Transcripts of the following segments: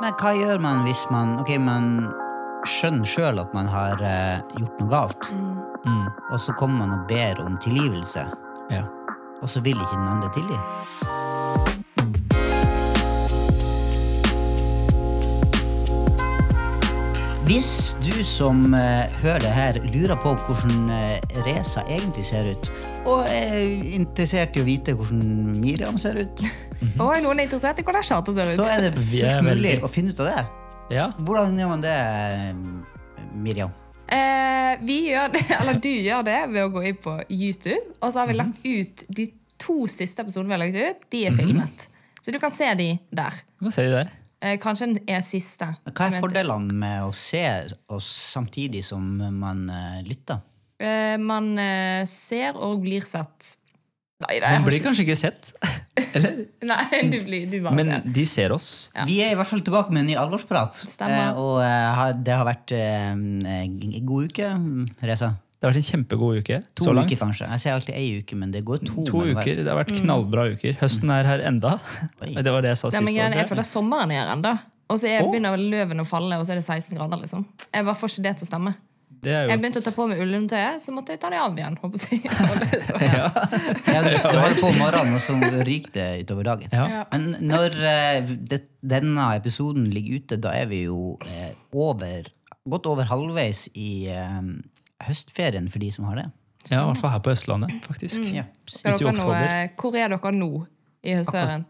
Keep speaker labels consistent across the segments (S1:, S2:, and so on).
S1: Men hva gjør man hvis man Ok, man skjønner sjøl at man har eh, gjort noe galt,
S2: Mm.
S1: og så kommer man og ber om tilgivelse,
S2: Ja.
S1: og så vil ikke den andre tilgi? Hvis du som eh, hører det her, lurer på hvordan uh, Reza egentlig ser ut, og er interessert i å vite hvordan Miriam ser ut,
S3: Og er noen interessert i hvordan Charter ser
S1: så
S3: ut?
S1: er det
S2: Vi er
S1: fullt mulig
S2: veldig-
S1: å finne ut av det.
S2: ja.
S1: Hvordan gjør man det, Miriam?
S3: Eh, vi gjør det, eller du gjør det ved å gå inn på YouTube, og så har vi
S1: Mhm.
S3: lagt ut de to siste episodene vi har lagt ut, de er filmet. Så du kan se de der.
S2: Du kan se de der.
S3: Eh, kanskje den er siste.
S1: Hva er
S3: Men,
S1: fordelene med å se oss samtidig som man eh, lytter?
S3: eh, man eh, ser og blir sett. Nei, nei,
S2: Man
S3: jeg
S2: blir kanskje ikke sett,
S3: har ikke-
S1: Mm.
S3: nei du, blir, du bare
S2: men
S3: ser.
S2: de ser oss.
S3: Ja.
S1: Vi er i hvert fall tilbake med en ny alvorsprat.
S3: Stemmer.
S1: Eh, Og eh, har- det har vært eh, en god uke, Reza.
S2: Det har vært en kjempegod uke
S1: To
S2: så langt.
S1: uker, kanskje. Jeg sier alltid ei uke, men det går to.
S2: To
S1: mellom hver.
S2: uker, Det har
S3: Mm.
S2: vært knallbra uker. Høsten er her enda.
S1: Oi.
S2: Det var det jeg sa
S3: Nei, men
S2: sist.
S3: greien, jeg
S2: Andrea.
S3: føler sommeren er her ennå. Og så er-
S2: Å.
S3: begynner løven å falle, og så er det 16 grader. liksom. Jeg bare får ikke det til å stemme.
S2: Det er jo
S3: Jeg begynte å ta på meg ullundertøyet, så måtte jeg ta det av igjen. håper jeg. Og det- så-
S1: Ja, du, du holder på om morgenen, og så ryker det utover dagen.
S2: Ja.
S1: Men når eh, det, denne episoden ligger ute, da er vi jo eh, over, godt over halvveis i eh, høstferien for de som har det.
S2: Ja, i hvert fall her på Østlandet, faktisk.
S3: Mm.
S1: Ja.
S3: Er
S2: Ut i
S3: dere
S2: oktober.
S3: nå, hvor er dere nå i høstserien?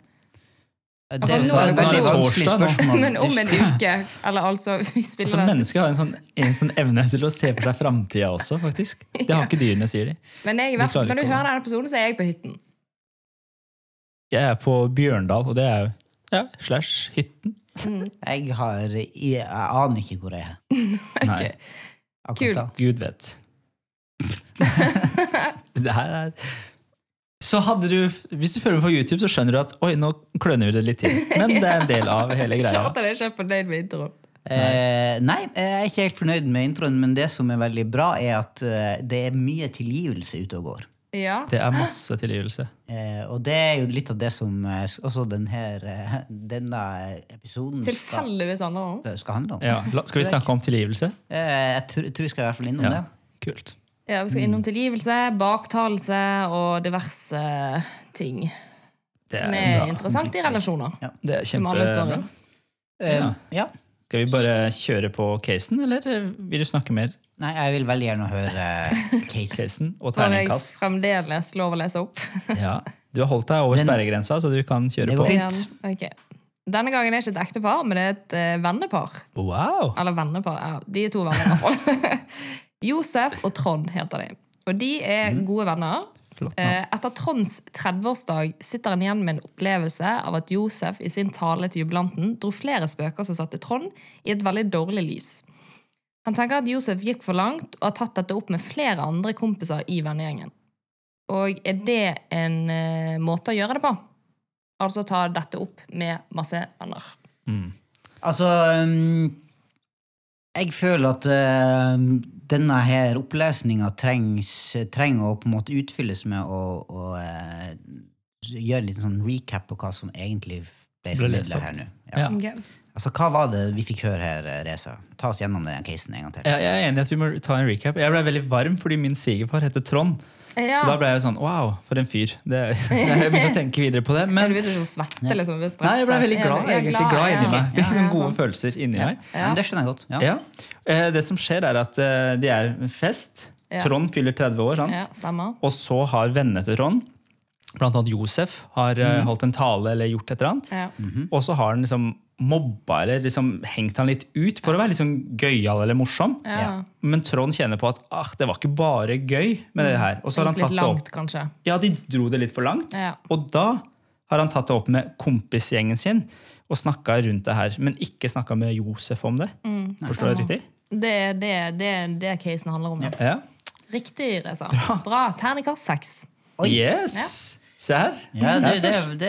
S1: Det
S3: nå
S1: var
S3: er det
S1: et veldig
S3: bare
S1: vanskelig
S2: torsdag nå.
S1: spørsmål.
S3: Men om en uke, eller altså Vi
S2: Altså,
S3: spiller det.
S2: mennesket har en sånn, en sånn evne til å se for seg framtida også, faktisk. Det har ikke dyrene, sier de.
S3: Men jeg,
S2: Vi
S3: i hvert fall-
S2: klarer
S3: når du
S2: ikke å-
S3: hører denne episoden, så er jeg på hytten.
S2: Jeg er på Bjørndal, og det er jo ja, slash hytten.
S1: Jeg, har, jeg aner ikke hvor jeg er.
S2: Nei,
S3: Ok.
S1: akkurat da.
S2: Gud vet. det her er Så hadde du Hvis du følger med på YouTube, så skjønner du at oi, nå kløner vi det litt til. Men det er en del av hele greia.
S3: Charter er ikke fornøyd med introen.
S1: Eh, nei, jeg er ikke helt fornøyd med introen, men det som er veldig bra, er at eh, det er mye tilgivelse ute og går.
S3: Ja.
S2: Det er masse tilgivelse.
S1: Eh, og det er jo litt av det som eh, s- også den her, eh, denne episoden skal,
S3: Tilfeldigvis handler det om.
S1: skal handle om.
S2: Ja, la, skal vi snakke om tilgivelse?
S1: Eh, jeg tror, tror jeg skal i hvert fall innom
S2: Ja.
S1: det.
S2: Kult.
S3: Ja, vi skal innom tilgivelse, baktalelse og diverse ting
S2: Det
S3: som
S2: er
S3: er
S2: bra.
S3: interessant i relasjoner.
S2: Det er
S3: Som alle står i.
S2: kjempebra.
S1: Eh,
S2: Ja.
S1: ja.
S2: Skal vi bare kjøre på casen, eller vil du snakke mer?
S1: Nei, jeg vil veldig gjerne høre eh, case.
S2: Casen og
S3: Når jeg
S2: terningkast.
S3: fremdeles lov å lese opp.
S2: Ja. Du har holdt deg over
S1: Den-
S2: sperregrensa, så du kan kjøre
S1: Det går
S2: på.
S1: fint.
S3: Igjen. Ok. Denne gangen er det ikke et ektepar, men det er et eh, vennepar.
S2: Wow!
S3: Eller vennepar. Ja, de er to venner, i hvert fall. Josef og Trond heter de. Og de er gode venner.
S2: Flott navn.
S3: Eh, Etter Tronds 30-årsdag sitter han igjen med en opplevelse av at Josef i sin tale til jubilanten dro flere spøker som satte Trond i et veldig dårlig lys. Han tenker at Josef gikk for langt og har tatt dette opp med flere andre kompiser i vennegjengen. Og er det en eh, måte å gjøre det på? Altså ta dette opp med masse venner.
S2: Mm.
S1: Altså um, Jeg føler at um, denne her opplesninga trengs- trenger å på en måte utfylles med å, å eh, gjøre en liten sånn recap på hva som egentlig ble
S2: Ble lest
S1: formidla
S2: opp.
S1: her nå. Ja.
S2: Ja.
S1: Altså, Hva var det vi fikk høre her, eh, Reza? Ta oss gjennom den casen en gang til.
S2: Jeg jeg er enig i at vi må ta en recap. Jeg ble veldig varm fordi min svigerfar heter Trond.
S3: Ja.
S2: Så da ble jeg sånn wow, for en fyr. Det, jeg begynte å tenke videre på det.
S3: Men
S2: Men
S3: du begynte ikke å svette liksom, ved
S2: nei,
S3: stresset?
S2: jeg ble veldig glad,
S3: Ja,
S2: egentlig glad inni meg.
S3: Ja,
S2: Fikk noen
S3: ja,
S2: gode
S3: sant.
S2: følelser inni meg.
S1: Men det skjønner jeg godt. Ja.
S2: Ja. Eh, Det som skjer, er at eh, det er fest.
S3: Ja.
S2: Trond fyller 30 år, sant?
S3: Ja, stemmer.
S2: og så har vennene til Trond, blant annet Josef, har eh, holdt en tale eller gjort et eller annet.
S3: Mm. Ja.
S2: Og så har han liksom mobba eller liksom hengt han litt ut for å være liksom gøyal eller morsom.
S3: Ja.
S1: Ja.
S2: Men Trond kjenner på at ah, det var ikke bare gøy med det her. Og så har han
S3: Mm. Gikk litt
S2: tatt det opp.
S3: langt, kanskje.
S2: Ja, de dro det litt for langt.
S3: Ja.
S2: Og da har han tatt det opp med kompisgjengen sin og snakka rundt det her. Men ikke snakka med Josef om det.
S3: Mm.
S2: Forstår jeg riktig?
S3: Det er det, det, er det casen handler om. da.
S2: Ja.
S3: Riktig, Reza. Bra. Terningkast seks.
S1: Oi.
S2: Yes! Se her.
S1: Ja, det, det, det,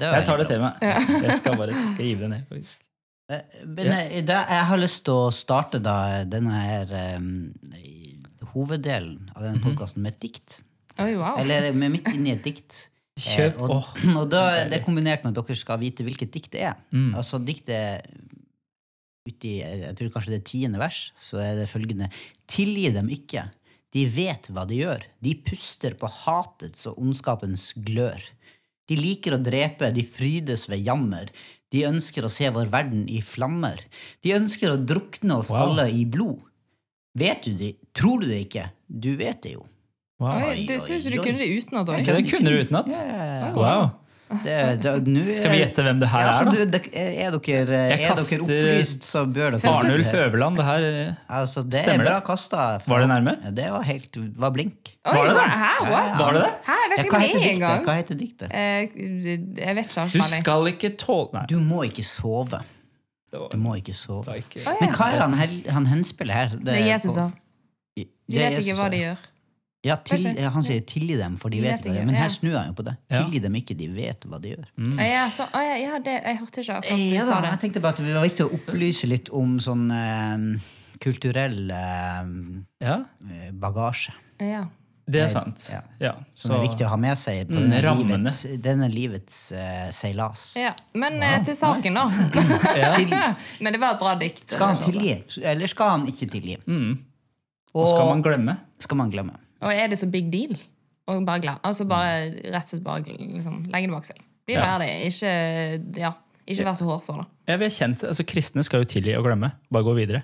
S1: det var
S2: Jeg tar det
S1: veldig bra.
S2: til meg. Jeg skal bare skrive det ned. faktisk.
S1: Men eh, da, jeg har lyst til å starte da denne her um, i- hoveddelen av
S2: Mhm.
S1: denne podkasten med et dikt.
S3: Oi, wow.
S1: Eller med midt inni et dikt.
S2: Kjøp,
S1: og,
S2: åh, Mm.
S1: og da er det kombinert med at dere skal vite hvilket dikt det er. Altså diktet uti jeg tror kanskje det er tiende vers, så er det følgende Tilgi dem ikke. De vet hva de gjør. De puster på hatets og ondskapens glør. De liker å drepe, de frydes ved jammer. De ønsker å se vår verden i flammer. De ønsker å drukne oss
S2: Wow.
S1: alle i blod. Vet du det? Tror du det ikke? Du vet det jo.
S2: Wow.
S3: Oi, du
S1: oi,
S3: syns du
S1: oi.
S3: kunne det utenat
S2: Ok,
S3: òg?
S2: det kunne du utenat.
S1: Ja, ja, ja.
S2: Wow.
S1: Det- det- nå er-
S2: Skal vi gjette hvem det her
S1: ja,
S2: er,
S1: altså,
S2: da?
S1: du, det, er dere,
S2: Jeg
S1: er
S2: kaster-
S1: dere opplyst, så bør dere
S2: Arnulf Øverland. Det her eh,
S1: Altså, det
S2: Stemmer
S1: er bra
S2: det?
S1: kasta.
S2: Var det nærme?
S1: Ja, det var helt var blink.
S2: Var det det?
S3: Hæ, what?
S2: Var det det?
S3: Hæ, jeg vet
S1: Ja,
S3: ikke
S1: hva,
S3: hvem
S1: heter
S3: det er
S1: diktet?
S3: engang.
S1: hva heter diktet?
S3: Eh, Jeg vet ikke.
S2: Du
S3: Arnfinn.
S2: skal ikke tåle Nei.
S1: Du må ikke sove.
S2: det var-
S1: Du må ikke
S2: det var
S1: sove.
S2: ikke-
S3: Å, ja.
S1: Men hva er det han, hel- han henspiller her?
S3: Det er Jesus, da.
S1: De
S3: De vet ikke hva de gjør.
S1: Ja, til,
S3: Kanskje.
S1: ja, han sier 'tilgi dem, for de vet ikke hva de gjør'. Men
S3: ja.
S1: her snur han jo på det.
S2: Ja.
S1: Tilgi dem ikke, de vet hva de gjør.
S2: Mm.
S3: Å, Ja, så, å, ja, ja, det, jeg hørte ikke akkurat du
S1: Ja, da,
S3: sa det.
S1: jeg tenkte bare at det var viktig å opplyse litt om sånn eh, kulturell eh,
S2: Ja,
S1: bagasje.
S3: Ja.
S2: det er sant.
S1: Ja.
S2: Ja,
S1: Som er viktig å ha med seg på
S2: Mm,
S1: denne
S2: rammene.
S1: livets, denne livets eh, seilas.
S3: ja. Men eh, til saken, da.
S2: ja.
S3: Men det var et bra dikt.
S1: Skal han tilgi, eller skal han ikke tilgi? Og,
S2: Mm. Og skal man glemme?
S1: glemme?
S3: Og er det så big deal? Og bare glem, altså bare rett og slett bare liksom, legge det bak seg. Bli
S2: Ja.
S3: ferdig. Ikke, ja, ikke vær så hårsår, da.
S2: Ja, vi er kjent, altså Kristne skal jo tilgi og glemme. Bare gå videre.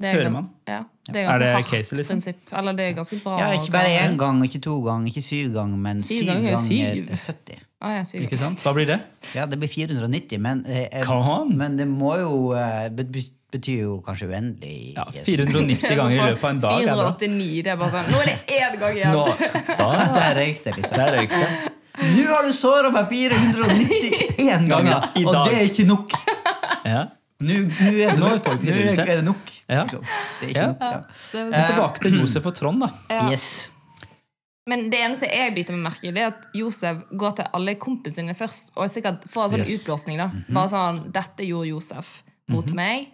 S3: Det er
S2: Hører
S3: gan-
S2: man?
S3: Ja, det er
S2: Er
S3: ganske
S2: det
S3: hardt
S2: case, liksom?
S3: prinsipp. Eller det er ganske bra.
S1: Ja,
S3: å
S1: ikke bare
S3: klare.
S1: én gang, ikke to ganger, ikke syv ganger, men
S3: Syv
S1: syv
S3: ganger er
S1: ganger
S2: syv.
S1: 70.
S3: Å, ja, syv
S2: Ikke
S3: ganger.
S2: sant? Hva blir det?
S1: Ja, det blir 490, men, eh, eh,
S2: Come on!
S1: men det må jo eh, bet- bet- betyr jo kanskje uendelig. i-
S2: Ja,
S1: i-
S2: 490 ganger i løpet av en dag er bra.
S3: 489. Det er bare sånn Nå er det én gang igjen!
S2: Nå, da,
S1: Der røyk det, liksom.
S2: der røyk det.
S1: Nå har du såra meg 491 ganger,
S2: I
S1: og
S2: dag.
S1: det er ikke nok!
S2: Ja.
S1: Nå, nå er det
S2: Nå
S1: nok.
S2: er folk i
S1: Nå er,
S2: ruset.
S1: er det nok.
S2: Ja.
S1: Liksom. Det er ikke
S2: Ja.
S1: nok. Ja.
S3: Det
S2: Men tilbake til Josef og Trond, da.
S1: Yes.
S3: Men det eneste jeg biter meg merke i, det er at Josef går til alle kompisene sine først. Og sikkert får en sånn
S2: Yes. Mhm.
S3: utblåsning. da Bare sånn 'Dette gjorde Josef mot meg'.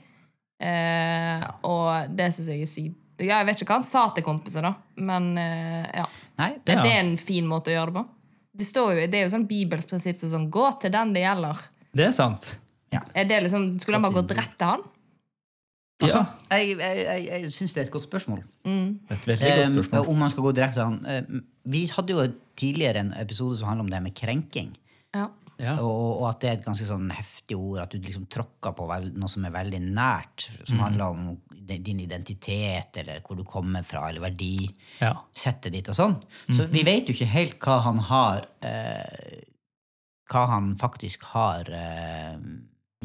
S3: Eh, og det syns jeg er sykt. Ja, jeg vet ikke hva han sa til kompisene, da. Men eh, ja.
S1: Nei,
S3: Men
S2: Ja.
S3: det er en fin måte å gjøre det på. Det, står jo, det er jo sånn bibelsk prinsipp som sånn 'Gå til den det gjelder'.
S2: Det er sant.
S3: Er det liksom, skulle han bare gått rett til han?
S2: Ja,
S1: altså, jeg, jeg, jeg, jeg syns det er et godt spørsmål.
S2: et veldig godt
S1: Eh,
S2: spørsmål.
S1: om man skal gå direkte an. Eh, vi hadde jo tidligere en episode som handla om det med krenking.
S3: Ja.
S2: Ja.
S1: Og, og at det er et ganske sånn heftig ord. At du liksom tråkker på vel, noe som er veldig nært. Som
S2: Mm.
S1: handler om de- din identitet, eller hvor du kommer fra, eller verdi.
S2: Ja.
S1: Settet ditt og sånn. Så vi vet jo ikke helt hva han har eh, Hva han faktisk har eh,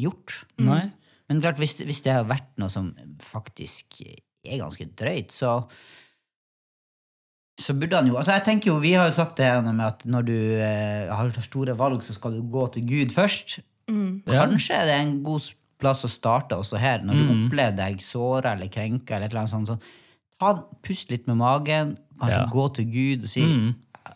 S1: gjort.
S2: Nei.
S1: Men klart, hvis, hvis det har vært noe som faktisk er ganske drøyt, så så burde han jo, altså jeg tenker jo, Vi har jo sagt det her nå med at når du eh, har store valg, så skal du gå til Gud først. Kanskje er det en god s- plass å starte også her, når du opplever deg såra eller krenka. eller et eller annet sånt. sånn. Ta, pust litt med magen, kanskje
S2: Ja.
S1: gå til Gud og si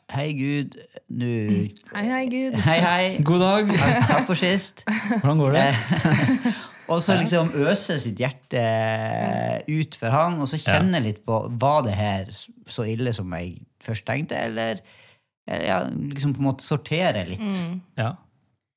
S1: 'Hei, Gud, nå
S3: Hei, hei, Gud.
S1: Hei, hei.
S2: God dag.
S1: Takk for sist.
S2: Hvordan går det?
S1: Og så liksom øse sitt hjerte eh, ut for han, og så kjenne litt på Var det her s- så ille som jeg først tenkte, eller, eller ja, liksom på en måte sortere litt.
S2: Ja.
S1: Eh,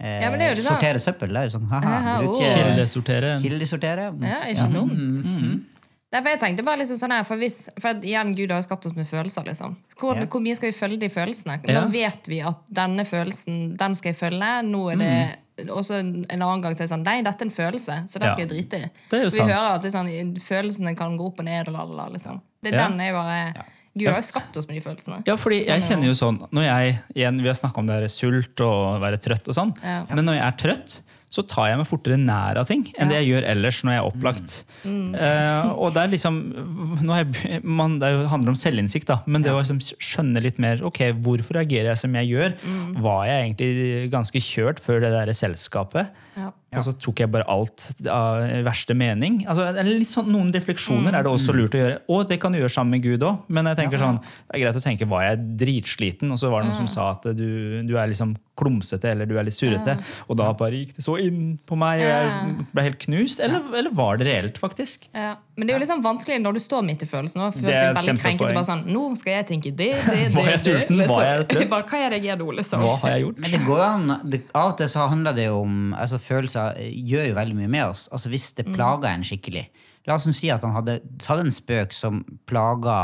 S3: Mm. Ja, men det er jo det da.
S1: sortere søppel. Det er jo sånn ha-ha.
S3: Aha, oh.
S1: Bruke
S2: Kildesortere.
S1: kildesortere. mm.
S3: Ja,
S2: Mhm,
S3: ikke dumt. Nei, for jeg tenkte bare liksom sånn her, for, hvis, for at, igjen, Gud har jo skapt oss med følelser, liksom. Hvor,
S1: Ja.
S3: hvor mye skal vi følge de følelsene? Nå
S2: Ja.
S3: vet vi at denne følelsen, den skal jeg følge. Nå er det også en en annen gang så er det sånn, nei, dette er en følelse, så
S2: Mhm.
S3: den
S2: Ja.
S3: skal jeg drite i.
S2: Det er jo
S3: vi
S2: sant.
S3: hører at liksom, følelsene kan gå opp og ned og la-la-la, liksom. Det er
S2: Ja.
S3: den jeg bare... Gud har jo skapt oss med de følelsene.
S2: Ja, fordi jeg kjenner jo sånn når jeg, igjen, Vi har snakka om det her sult og være trøtt og sånn.
S3: Ja.
S2: Men når jeg er trøtt, så tar jeg meg fortere nær av ting enn det jeg gjør ellers når jeg er opplagt. Eh, og det er liksom nå har jeg, man, Det er jo- handler om selvinnsikt, da. Men det å liksom skjønne litt mer ok, hvorfor reagerer jeg som jeg gjør. Var jeg egentlig ganske kjørt før det der selskapet?
S3: Ja.
S2: Og så tok jeg bare alt av verste mening. Altså, det er litt sånn, noen refleksjoner er det også lurt å gjøre. Og det kan du gjøre sammen med Gud òg. Men jeg tenker sånn, det er greit å tenke var jeg dritsliten, og så var det noen som sa at du, du er liksom klumsete eller du er litt surrete. Og da bare gikk det så inn på meg, og jeg ble helt knust. Eller, eller var det reelt, faktisk?
S3: Ja. Men det er jo liksom vanskelig når du står midt i følelsen og føler
S2: Det er
S3: deg veldig
S2: et
S3: krenket.
S2: kjempepoeng.
S3: og Bare sånn, nå skal jeg tenke det, det, det,
S2: Var jeg
S3: det,
S2: sulten? Var jeg trøtt?
S3: Bare, hva er det jeg gjør nå, liksom?
S2: Hva har jeg gjort?
S1: Men det går jo an, det, av og til så handler det jo om altså følelser eh, gjør jo veldig mye med oss. Altså Hvis det plager en skikkelig. La oss nå si at han hadde tatt en spøk som plaga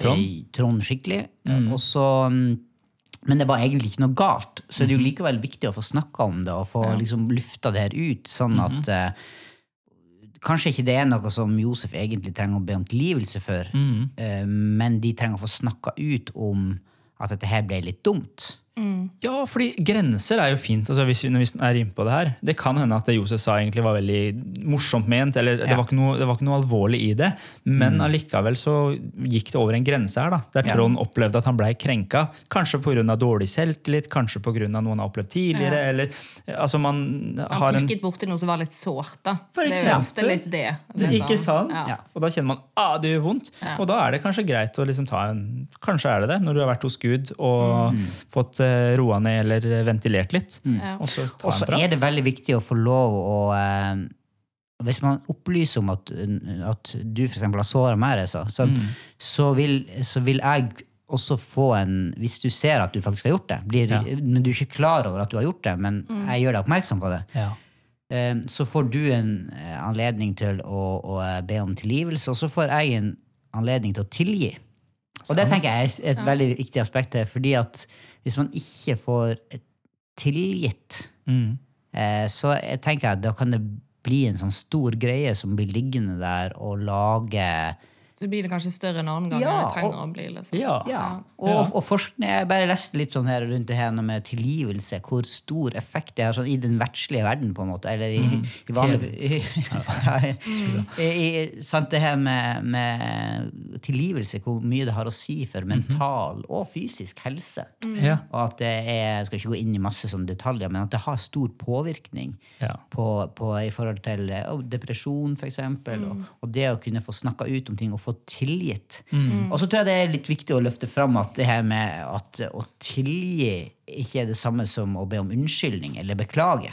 S1: Trond, Trond skikkelig. eh, Og så, mm, men det var egentlig ikke noe galt. Så det er jo likevel viktig å få snakka om det og få liksom, lufta det her ut, sånn at eh, Kanskje ikke det er noe som Josef egentlig trenger å be om tilgivelse for, eh, men de trenger å få snakka ut om at dette her ble litt dumt.
S2: Ja, fordi grenser er jo fint. Altså, hvis, vi- når vi er inne på Det her Det kan hende at det Josef sa, egentlig var veldig morsomt ment. eller det,
S1: Ja.
S2: var ikke noe, det var ikke noe alvorlig i det, men
S3: Mm.
S2: allikevel så gikk det over en grense her. da Der
S1: Ja.
S2: Trond opplevde at han blei krenka. Kanskje pågrunn av dårlig selvtillit, kanskje pga. noe han har opplevd tidligere. Eller, altså man har
S3: Han
S2: en
S3: pirket borti noe som var litt sårt, da.
S2: For
S3: det er jo ofte
S2: eksempel.
S3: litt det.
S2: Det-
S3: liksom.
S2: Ikke sant?
S3: Ja.
S2: Og da kjenner man ah, det gjør vondt. Og da er det kanskje greit å liksom ta en Kanskje er det det, når du har vært hos Gud og
S3: Mm.
S2: fått eh, roa ned eller ventilert litt.
S3: Ja.
S2: Og så ta
S1: Og så
S2: en prat.
S1: er det veldig viktig å få lov å eh, Hvis man opplyser om at, at du f.eks. har såra meg, så, så,
S2: Mm.
S1: så, vil, så vil jeg også få en Hvis du ser at du faktisk har gjort det, blir,
S2: Ja.
S1: men du er ikke klar over at du har gjort det, men jeg gjør deg oppmerksom på det,
S2: Ja.
S1: eh, så får du en eh, anledning til å, å eh, be om tilgivelse, og så får jeg en anledning til å tilgi. Og det tenker jeg er et veldig viktig aspekt her, fordi at hvis man ikke får tilgitt
S2: Mm.
S1: Eh, Så jeg tenker at da kan det bli en sånn stor greie som blir liggende der og lage
S3: Så blir det kanskje større en annen gang
S1: Ja,
S3: enn det trenger
S1: og-
S3: å bli. liksom.
S2: Ja. Ja.
S1: Og, og forskning, Jeg bare leste litt sånn her rundt det her noe med tilgivelse, hvor stor effekt det har sånn, i den verdslige verden, på en måte. Eller i, i vanlig ja, i, i, sant, Det her med, med tilgivelse, hvor mye det har å si for mental og fysisk helse.
S2: Ja.
S1: Og at det er, jeg skal ikke gå inn i masse sånne detaljer, men at det har stor påvirkning
S2: Ja.
S1: på, på, i forhold til eh, å, depresjon, for eksempel,
S2: Mm.
S1: og, og det å kunne få snakka ut om ting og få tilgitt.
S2: Mm.
S1: Og så tror jeg det er litt viktig å løfte fram at det her med at eh, å tilgi ikke er det samme som å be om unnskyldning eller beklage.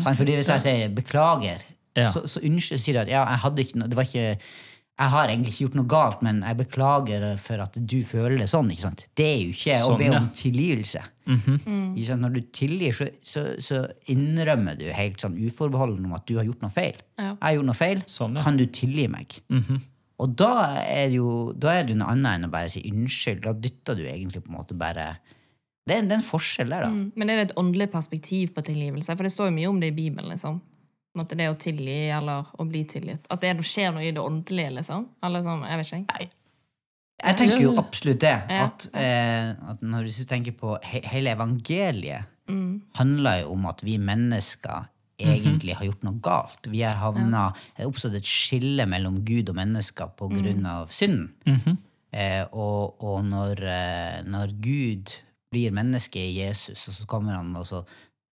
S1: Sant? Fordi hvis jeg sier beklager,
S2: Mm. Ja.
S1: så, så unnskyld, sier du at ja, jeg hadde ikke noe, det var ikke jeg har egentlig ikke gjort noe galt, men jeg beklager for at du føler det sånn. ikke sant? Det er jo ikke å
S2: Sånn,
S1: be
S2: ja.
S1: om tilgivelse. Ikke sant? Når du tilgir, så, så, så innrømmer du helt sånn uforbeholden om at du har gjort noe feil.
S3: Ja.
S1: Jeg har gjort noe feil.
S2: Sånn, ja.
S1: Kan du tilgi meg? Og da er det jo da er det jo noe annet enn å bare si unnskyld. Da dytter du egentlig på en måte bare Det er, det er en forskjell der, da.
S3: Mm. Men er det et åndelig perspektiv på tilgivelse? For det står jo mye om det i Bibelen. liksom. På en måte Det å tilgi eller å bli tilgitt. At det er- skjer noe i det åndelige, liksom. Eller sånn, jeg vet ikke. jeg.
S1: Jeg tenker jo
S2: Ja.
S1: absolutt det.
S3: Ja.
S1: At, eh, at når du tenker på he hele evangeliet,
S3: Mm.
S1: handler jo om at vi mennesker
S3: Mhm.
S1: egentlig har gjort noe galt. Vi har havna, Det er oppstått et skille mellom Gud og mennesker på
S3: Mm.
S1: grunn av synden.
S2: Mhm.
S1: eh, og og når, eh, når Gud blir menneske i Jesus, og så kommer han og så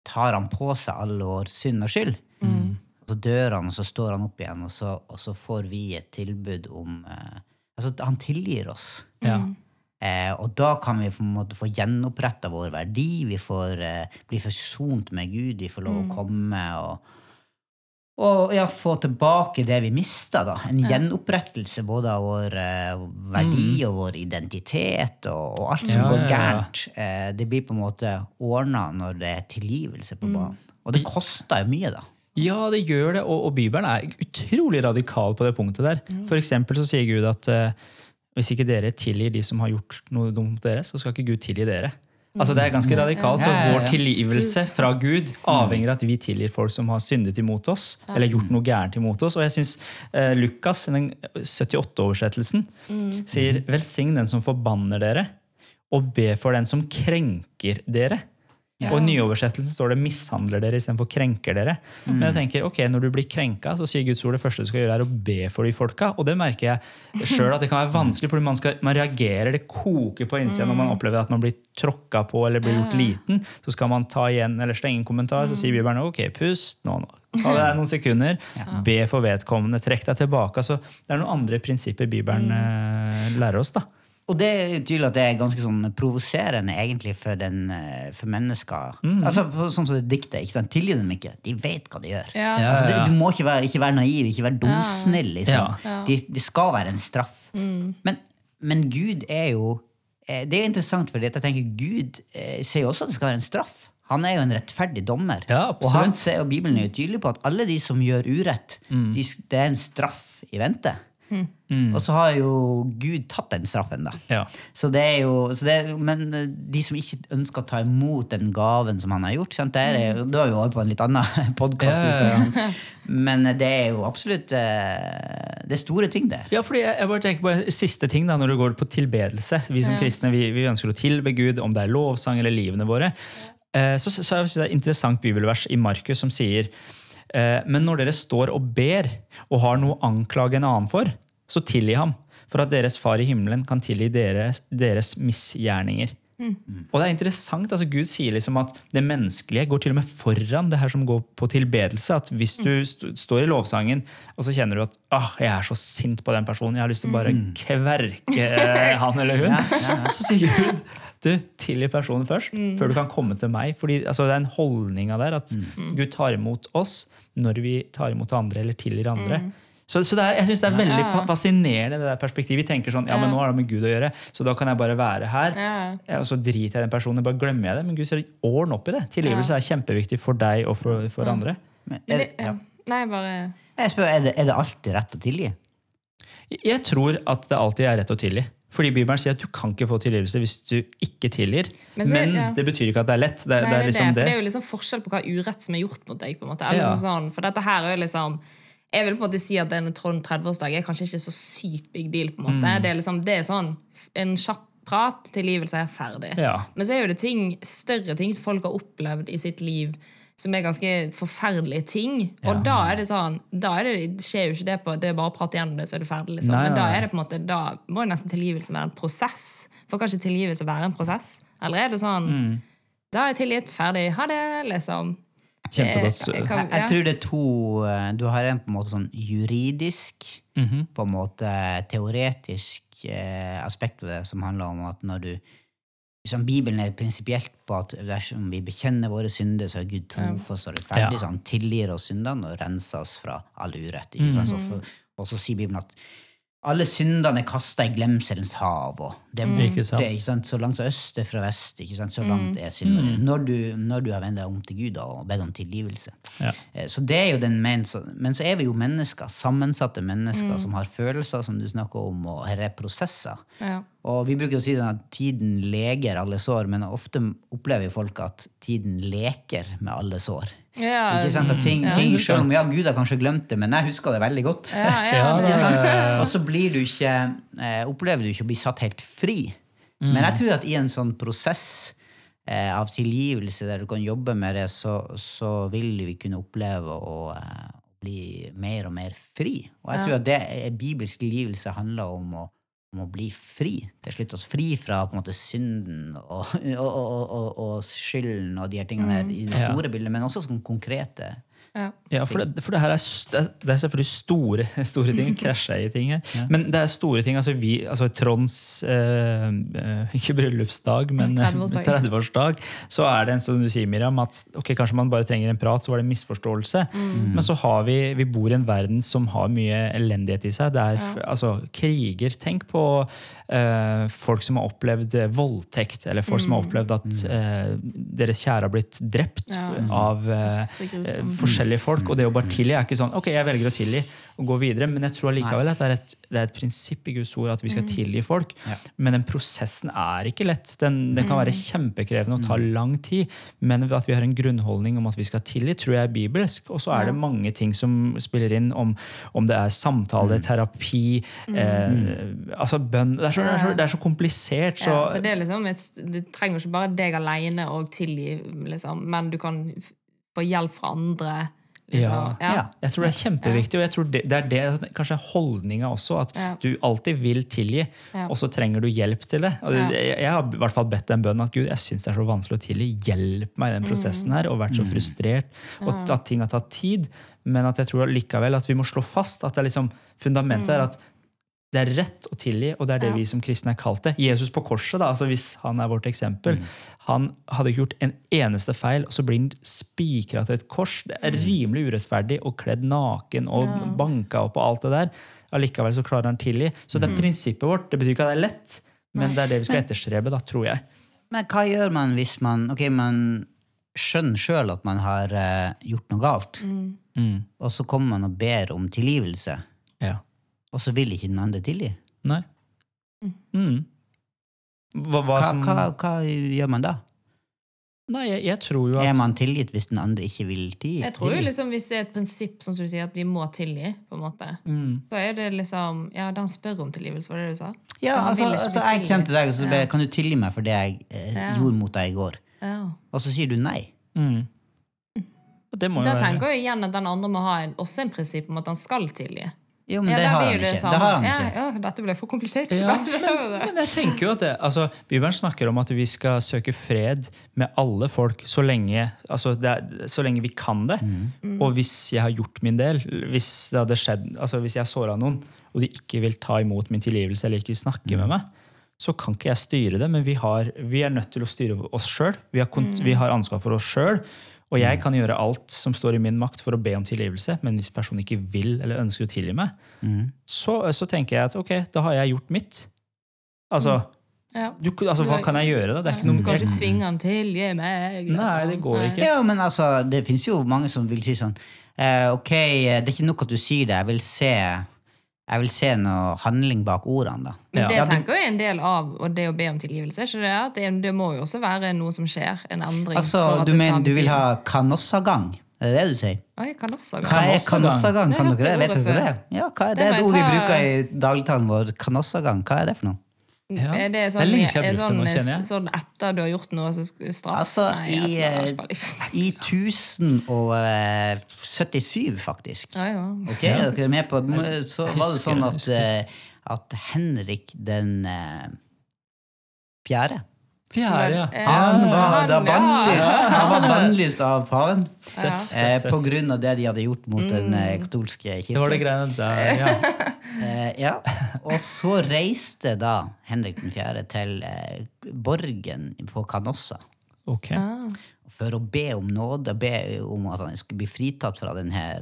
S1: tar han på seg alle vår synd og skyld.
S2: Mm.
S3: Mm.
S1: Og så dør han, og så står han opp igjen, og så, og så får vi et tilbud om eh, Altså, han tilgir oss.
S2: Ja.
S3: Mm.
S1: Eh, og da kan vi på en måte få gjenoppretta vår verdi, vi får eh, bli forsont med Gud, vi får lov
S2: Mm.
S1: å komme og, og ja, få tilbake det vi mista. da. En gjenopprettelse både av vår eh, verdi og vår identitet og, og alt som
S2: Mm. Ja,
S1: går
S2: ja, ja.
S1: gærent. Eh, det blir på en måte ordna når det er tilgivelse
S2: Mm.
S1: på banen. Og det koster jo mye, da.
S2: Ja, det gjør det, og, og Bibelen er utrolig radikal på det punktet der.
S1: Mm.
S2: For eksempel så sier Gud at eh, hvis ikke dere tilgir de som har gjort noe dumt mot dere, så skal ikke Gud tilgi dere. Altså Det er ganske radikalt. Så
S1: Mm. Ja, ja, Mm. ja.
S2: vår tilgivelse fra Gud avhenger av at vi tilgir folk som har syndet imot oss, eller gjort noe gærent imot oss. Og jeg syns eh, Lukas, i den 78-oversettelsen,
S1: Mm.
S2: sier 'velsign den som forbanner dere', og be for den som krenker dere'. Og i nyoversettelsen står det 'mishandler dere' istedenfor 'krenker dere'. Men jeg tenker, ok, når du blir krenka, så sier Guds ord det første du skal gjøre, er å be for de folka. Og det merker jeg sjøl at det kan være vanskelig, fordi man, skal, man reagerer, det koker på innsiden når man opplever at man blir tråkka på eller blir gjort liten. Så skal man ta igjen eller slenge en kommentar, så sier Bibelen ok, pust nå, nå. Ta deg noen sekunder, be for vedkommende, trekk deg tilbake. Altså, det er noen andre prinsipper Bibelen eh, lærer oss, da.
S1: Og det er jo tydelig at det er ganske sånn provoserende egentlig for, den, eh, for mennesker. Altså, for- Sånn som det diktet. ikke sant? Tilgi dem ikke. De vet hva de gjør.
S3: Ja.
S2: Ja,
S1: Altså,
S2: ja, ja.
S1: Du, du må ikke være, ikke være naiv, ikke være dumsnill. Liksom.
S3: Ja.
S1: Det det skal være en straff. Men, men Gud er jo eh, Det er jo interessant, fordi at jeg tenker Gud eh, sier jo også at det skal være en straff. Han er jo en rettferdig dommer.
S2: Ja,
S1: og han
S2: absolutt. Mm.
S1: ser, og Bibelen er jo tydelig på at alle de som gjør urett, de, s- det er en straff i vente. Og så har jo Gud tatt den straffen, da.
S2: Ja.
S1: Så det er jo, så det er, men eh, de som ikke ønsker å ta imot den gaven som han har gjort sant? Det er, jo-
S3: Mm.
S1: Da er vi over på en litt annen podkast.
S2: Ja, ja, ja.
S1: Men eh, det er jo absolutt eh, Det er store ting der.
S2: Ja, fordi jeg, jeg bare tenker på siste ting da, når det går på tilbedelse. Vi som
S3: Ja.
S2: kristne vi, vi ønsker å tilbe Gud, om det er lovsang eller livene våre. Eh, Så, så, så jeg synes det er et interessant bibelvers i Markus som sier eh, Men når dere står og ber og har noe å anklage en annen for, så tilgi ham. For at deres far i himmelen kan tilgi deres, deres misgjerninger. Og det er interessant, altså Gud sier liksom at det menneskelige går til og med foran det her som går på tilbedelse. At hvis du st står i lovsangen, og så kjenner du at ah, jeg er så sint på den personen, jeg har lyst til å bare kverke eh, han eller hun, så sier Gud du, tilgi personen først, før du kan komme til meg. Fordi altså, Det er en holdning av der at Gud tar imot oss når vi tar imot andre eller tilgir andre. Så, så det er, jeg synes det er veldig fa- fascinerende det der perspektivet. Vi tenker sånn, ja, men nå har det med Gud å gjøre, så da kan jeg bare være her.
S3: Ja.
S2: Ja, og så driter jeg i den personen, bare glemmer jeg det. Men Gud sier ordne opp i det. Tilgivelse er kjempeviktig for deg og for, for andre.
S1: Men
S3: Men
S1: er,
S3: det-
S1: ja.
S3: ja. Nei, bare
S1: Jeg spør, er, det, er det alltid rett å tilgi?
S2: Jeg tror at det alltid er rett å tilgi. Fordi Bibelen sier at du kan ikke få tilgivelse hvis du ikke tilgir.
S3: Men
S2: Men,
S3: så- ja.
S2: det betyr ikke at det er lett. Det, er-
S3: Nei,
S2: det er liksom
S3: det. For
S2: det.
S3: det er jo liksom forskjell på hva urett som er gjort mot deg. på en måte. Eller
S2: Ja.
S3: noe sånn, for dette her er jo liksom Jeg vil på en måte si at en Trond 30-årsdag er kanskje ikke så sykt big deal. på en måte.
S2: Mm.
S3: Det er liksom, det er sånn, f- En kjapp prat, tilgivelse, er ferdig.
S2: Ja.
S3: Men så er jo det ting, større ting som folk har opplevd i sitt liv, som er ganske forferdelige ting. Og da er det sånn, da er det, skjer jo ikke det på det er bare å prate gjennom det, så er det ferdig. liksom.
S2: Nei,
S3: Men
S2: nei,
S3: da
S2: nei.
S3: er det på en måte, da må jo nesten tilgivelse være en prosess. For kan ikke tilgivelse være en prosess? Eller er det sånn
S1: Mm.
S3: da er jeg tilgitt, ferdig, ha det, liksom. Jeg- jeg
S2: Kjempegodt.
S3: kan-
S1: Jeg,
S3: ja.
S1: jeg tror det er to eh, Du har en på en måte sånn juridisk,
S2: Mhm, Mm.
S1: på en måte teoretisk eh, aspekt ved det, som handler om at når du som Bibelen er prinsipielt på at dersom vi bekjenner våre synder, så er Gud trofast og rettferdig,
S2: Ja.
S1: så han tilgir oss syndene og renser oss fra all urett. Ikke sant?
S2: Mm.
S1: Så for, og så sier Bibelen at alle syndene er kasta i glemselens hav, og det er borte.
S2: Mm. Ikke sant? Mm.
S1: Ikke sant? Så langt øst er fra vest, ikke sant? så langt er synden. din. Når, du, når du har vendt deg om til Gud da, og bedt om tilgivelse.
S2: Ja.
S1: Eh, Så det er jo den men, så, men så er vi jo mennesker, sammensatte mennesker
S3: Mm.
S1: som har følelser, som du snakker om, og her er prosesser.
S3: Ja.
S1: Og vi bruker å si sånn at tiden leger alle sår, men ofte opplever jo folk at tiden leker med alle sår.
S3: Ja,
S1: Ikke sant? At ting, ting,
S2: det er
S1: selv om
S2: sant.
S1: ja, Gud har kanskje glemt det, men jeg husker det veldig godt.
S3: ja, ja,
S2: Ja,
S3: det,
S1: Ikke sant? Og så blir du ikke, eh, opplever du ikke å bli satt helt fri.
S2: Mm.
S1: Men jeg tror at i en sånn prosess eh, av tilgivelse der du kan jobbe med det, så, så vil vi kunne oppleve å eh, bli mer og mer fri. Og jeg tror at det eh, bibelsk tilgivelse handler om å, om å bli fri. Til slutt oss fri fra på en måte synden og, og, og, og, og skylden og de her tingene her i det
S2: Mm. Ja.
S1: store bildet, men også sånn konkrete.
S3: ja.
S2: Ja, for det, for det her er, s- det er- det er selvfølgelig store, store ting. Krasja i ting her. Men det er store ting. Altså, vi, altså Tronds eh, eh, Ikke bryllupsdag, men
S3: 30-årsdag.
S2: 30-årsdag. Så er det en som du sier, Miriam, at ok, kanskje man bare trenger en prat, så var det en misforståelse.
S3: Mm.
S2: Men så har vi, vi bor i en verden som har mye elendighet i seg. Det er f- altså, kriger. Tenk på eh, folk som har opplevd eh, voldtekt, eller folk
S3: Mm.
S2: som har opplevd at eh, deres kjære har blitt drept
S3: Ja.
S2: f- av eh,
S3: Så grusomt.
S2: eh, forskjellige folk. Og det å bare tilgi er ikke sånn ok, jeg velger å tilgi og gå videre. Men jeg tror allikevel at det er, et, det er et prinsipp i Guds ord at vi skal tilgi folk. Men den prosessen er ikke lett. Den, den kan være kjempekrevende og ta lang tid. Men ved at vi har en grunnholdning om at vi skal tilgi, tror jeg er bibelsk. Og så er det mange ting som spiller inn, om, om det er samtale, terapi, eh, altså bønn det er, så, det, er så, det er så komplisert. Så,
S3: Ja, så det er liksom et, Du trenger ikke bare deg alene å tilgi, liksom, men du kan f- få hjelp fra andre. Liksom.
S2: Ja.
S1: Ja.
S2: Jeg tror det er kjempeviktig, og jeg tror det, det er det kanskje er holdninga også. At
S3: Ja.
S2: du alltid vil tilgi,
S3: Ja.
S2: og så trenger du hjelp til det. Og det
S3: Ja.
S2: jeg, jeg har i hvert fall bedt en bønn at Gud, jeg syns det er så vanskelig å tilgi. Hjelp meg i den
S3: Mm.
S2: prosessen her, og vært så frustrert. Og at ting har tatt tid. Men at jeg tror likevel at vi må slå fast at det er liksom fundamentet
S3: Mm.
S2: er at det er rett å tilgi, og det er det
S3: Ja.
S2: vi som kristne er kalt det. Jesus på korset, da, altså hvis han er vårt eksempel,
S1: Mm.
S2: han hadde ikke gjort en eneste feil, og så blir han spikra til et kors. Det
S3: Mm.
S2: er rimelig urettferdig, og kledd naken og banka opp og alt det der. Allikevel så klarer han tilgi. Så
S3: Mm.
S2: det er prinsippet vårt. Det betyr ikke at det er lett, men det er det vi skal etterstrebe, da, tror jeg.
S1: Men hva gjør man hvis man Ok, man skjønner sjøl at man har eh, gjort noe galt,
S2: Mm.
S1: og så kommer man og ber om tilgivelse,
S2: Ja.
S1: og så vil ikke den andre tilgi.
S2: Nei. Mm. Hva, hva
S1: Hva,
S2: som
S1: hva, hva gjør man da?
S2: Nei, jeg, jeg tror jo at
S1: Er man tilgitt hvis den andre ikke vil tilgi?
S3: Jeg tror jo
S1: tilgi?
S3: liksom Hvis det er et prinsipp som du sier at vi må tilgi, på en måte
S2: Mm.
S3: så er det liksom Ja, da han spør om tilgivelse, var det det du sa?
S1: Ja,
S3: Han
S1: altså,
S3: vil ikke
S1: altså
S3: bli
S1: jeg kommer til deg og så
S3: tilgitt.
S1: ber jeg, kan du tilgi meg for det jeg eh,
S3: Ja.
S1: gjorde mot deg i går?
S3: Ja.
S1: Og så sier du nei.
S2: Mm. Det må jo
S3: Da
S2: være
S3: tenker jeg igjen at den andre må ha en, også en prinsipp om at han skal tilgi.
S1: Jo, men
S3: Ja,
S1: Mm, det,
S3: da
S1: har
S3: blir
S1: han
S3: jo det
S1: ikke.
S3: samme.
S1: det har han
S3: ja,
S1: ikke.
S3: Ja, dette ble for komplisert.
S2: Ja,
S3: Det var det.
S2: Men jeg tenker jo at det, altså, Bibelen snakker om at vi skal søke fred med alle folk så lenge, altså, det er, så lenge vi kan det. Og hvis jeg har gjort min del, hvis, det hadde skjedd, altså, hvis jeg har såra noen, og de ikke vil ta imot min tilgivelse eller ikke vil snakke med meg, så kan ikke jeg styre det, men vi, har, vi er nødt til å styre oss sjøl. Vi, har kont- vi har ansvar for oss sjøl. Og jeg kan gjøre alt som står i min makt for å be om tilgivelse, men hvis personen ikke vil eller ønsker å tilgi meg, så, så tenker jeg at ok, da har jeg gjort mitt. Altså,
S3: Ja.
S2: du, altså hva kan jeg gjøre da? Det er ikke
S3: Du
S2: noe
S3: kan ikke tvinge han til. Gi meg liksom.
S2: Nei, det går
S3: Nei.
S2: ikke.
S1: Ja, men altså, det fins jo mange som vil si sånn eh, Ok, eh, det er ikke nok at du sier det, jeg vil se Jeg vil se noe handling bak ordene, da.
S3: Men
S2: Ja.
S3: det
S2: Ja,
S1: du-
S3: tenker jeg er en del av og det å be om tilgivelse. er Ikke det? At Det, det må jo også være noe som skjer. En endring.
S1: Altså,
S3: for at
S1: du
S3: det skal
S1: mener du
S3: bety-
S1: vil ha kanossagang? Er det det du sier?
S3: Oi, jeg kan også
S1: Hva er
S2: Kanossagang?
S1: kanossagang? Kan
S3: Det
S1: dere det?
S3: hørte jeg
S1: Vet
S3: ordet
S1: dere det? Ja, hva er det?
S3: Det
S1: det er et
S3: må jeg
S1: ord vi
S3: ta-
S1: bruker i dagligtalen vår. Kanossagang, hva er det for noe?
S2: Ja.
S3: Er det, sånn,
S2: Det er lenge siden jeg
S3: er
S2: har brukt det nå,
S3: sånn-
S2: kjenner jeg.
S3: Sånn etter du har gjort noe, så sk- straff?
S1: Altså,
S3: Nei,
S1: i,
S3: jeg har
S1: eh,
S3: ikke peiling.
S1: I 1077, faktisk.
S3: Ja, ja.
S1: Ok, er dere med på må- Så var
S2: Jeg
S1: det
S2: husker,
S1: sånn
S2: jeg
S1: at, eh, at Henrik den eh, fjerde
S2: Fjerde, ja.
S3: Ja.
S1: Han var
S3: han,
S1: da
S3: ja.
S1: bannlyst Han var bannlyst av paven
S3: Ja.
S1: eh, på grunn av det de hadde gjort mot den eh, katolske
S2: Det var det
S1: kirken.
S2: greiene der, ja.
S1: Eh, ja. Og så reiste da Henrik den fjerde til eh, borgen på Canossa
S2: Ok.
S1: for å be om nåde, be om at han skulle bli fritatt fra den her,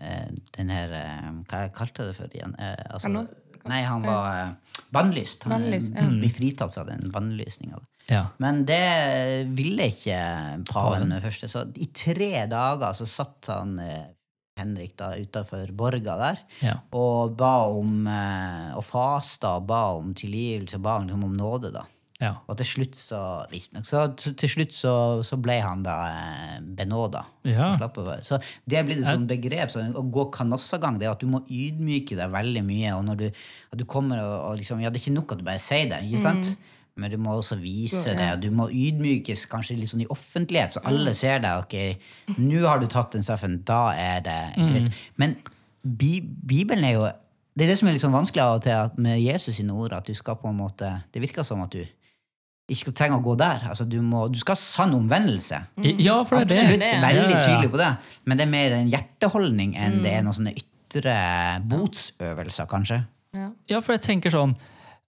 S1: eh, den her eh, Hva jeg kalte jeg det for igjen? Eh, altså-
S3: Kan du-
S1: nei, han var eh, bannlyst. Han eh,
S3: Bannlyst, ja.
S1: blir fritatt fra den bannlysninga.
S2: Ja.
S1: Men det ville ikke paven med det første, så i tre dager så satt han eh, Henrik da utafor borga der
S2: Ja.
S1: og ba om eh, og fasta og ba om tilgivelse og ba om, liksom, om nåde, da.
S2: ja.
S1: Og til slutt så, visstnok, så til slutt så, så ble han da eh, benåda.
S2: Ja.
S1: Og slapp å være. Så det blir et sånt begrep. Sånn, å gå kanossagang, det er at du må ydmyke deg veldig mye. og når du, at du kommer og, og liksom, ja, Det er ikke nok at du bare sier det, ikke sant? men du må også vise det. og Du må ydmykes kanskje litt sånn i offentlighet, så alle ser deg. ok, Nå har du tatt den straffen, da er det greit. Men bi Bibelen er jo det er det som er litt sånn vanskelig av og til at med Jesus sine ord. at du skal på en måte, Det virker som at du ikke skal trenge å gå der. altså Du, må, du skal ha sann omvendelse.
S2: I- ja, for det er
S1: Absolutt.
S2: det.
S1: Veldig
S2: Ja, ja, ja.
S1: tydelig på det. Men det er mer en hjerteholdning enn det
S3: Mm.
S1: er noen sånne ytre botsøvelser, kanskje.
S3: Ja.
S2: Ja, for jeg tenker sånn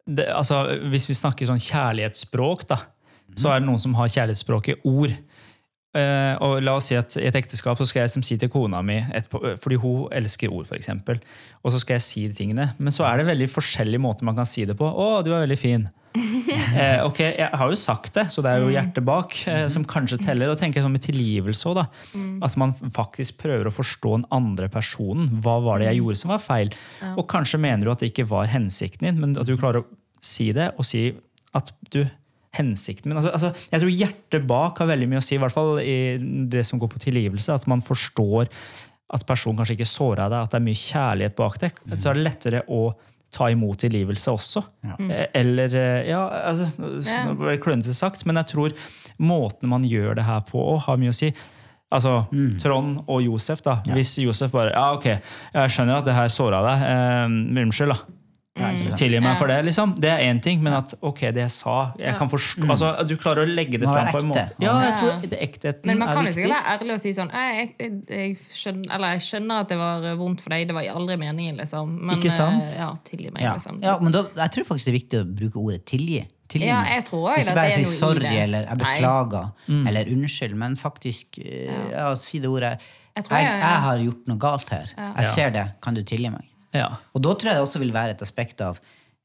S2: det, altså, Hvis vi snakker sånn kjærlighetsspråk, da,
S1: Mhm.
S2: så er det noen som har kjærlighetsspråk i ord. Eh, og la oss si at I et ekteskap så skal jeg liksom si til kona mi etterpå, eh, fordi hun elsker ord, f.eks. Og så skal jeg si de tingene. Men så er det veldig forskjellige måter man kan si det på. 'Å, du er veldig fin'. Eh, ok, Jeg har jo sagt det, så det er jo hjertet bak eh, som kanskje teller. Og tenker jeg sånn med tilgivelse òg, da. At man faktisk prøver å forstå den andre personen. Hva var det jeg gjorde som var feil? Og kanskje mener du at det ikke var hensikten din, men at du klarer å si det, og si at du hensikten min, altså, altså, Jeg tror hjertet bak har veldig mye å si, i hvert fall i det som går på tilgivelse. At man forstår at personen kanskje ikke såra deg, at det er mye kjærlighet bak det. Så er det lettere å ta imot tilgivelse også. Eh, Eller eh, Ja, altså
S3: Ja.
S2: nå ble det Klønete sagt, men jeg tror måten man gjør det her på, også har mye å si. Altså Trond og Josef, da. Hvis Josef bare Ja, OK, jeg skjønner at det her såra deg. Eh, unnskyld, da. Tilgi meg for det, liksom. Det er én ting, men at ok, det jeg sa jeg kan forstå, altså, Du klarer å legge det
S1: Mm. Må
S2: fram
S1: være
S2: på en måte.
S1: ekte.
S2: Ja, jeg
S3: Ja.
S2: tror det ektheten
S3: Men man
S2: er
S3: kan jo
S2: viktig.
S3: sikkert være ærlig og si sånn «Nei, jeg, jeg, jeg, skjønner, eller, 'Jeg skjønner at det var eh, vondt for deg, det var aldri meningen', liksom. Men
S2: Ikke sant?
S3: eh, ja, tilgi meg,
S1: Ja.
S3: liksom.
S1: ja, men da, Jeg tror faktisk det er viktig å bruke ordet tilgi. tilgi
S3: Ja,
S1: meg.
S3: jeg tror også
S1: Ikke
S3: at
S1: bare
S3: det
S1: si
S3: er noe i
S1: sorry
S3: det.
S1: eller jeg
S3: Nei. Mm.
S1: beklager eller unnskyld, men faktisk eh, ja. si det ordet.
S3: Jeg
S1: Jeg,
S3: tror
S1: jeg,
S3: jeg-
S1: har gjort noe galt her.
S2: Ja.
S1: Jeg ser det. Kan du tilgi meg?
S2: Ja.
S1: Og da tror jeg det også vil være et aspekt av,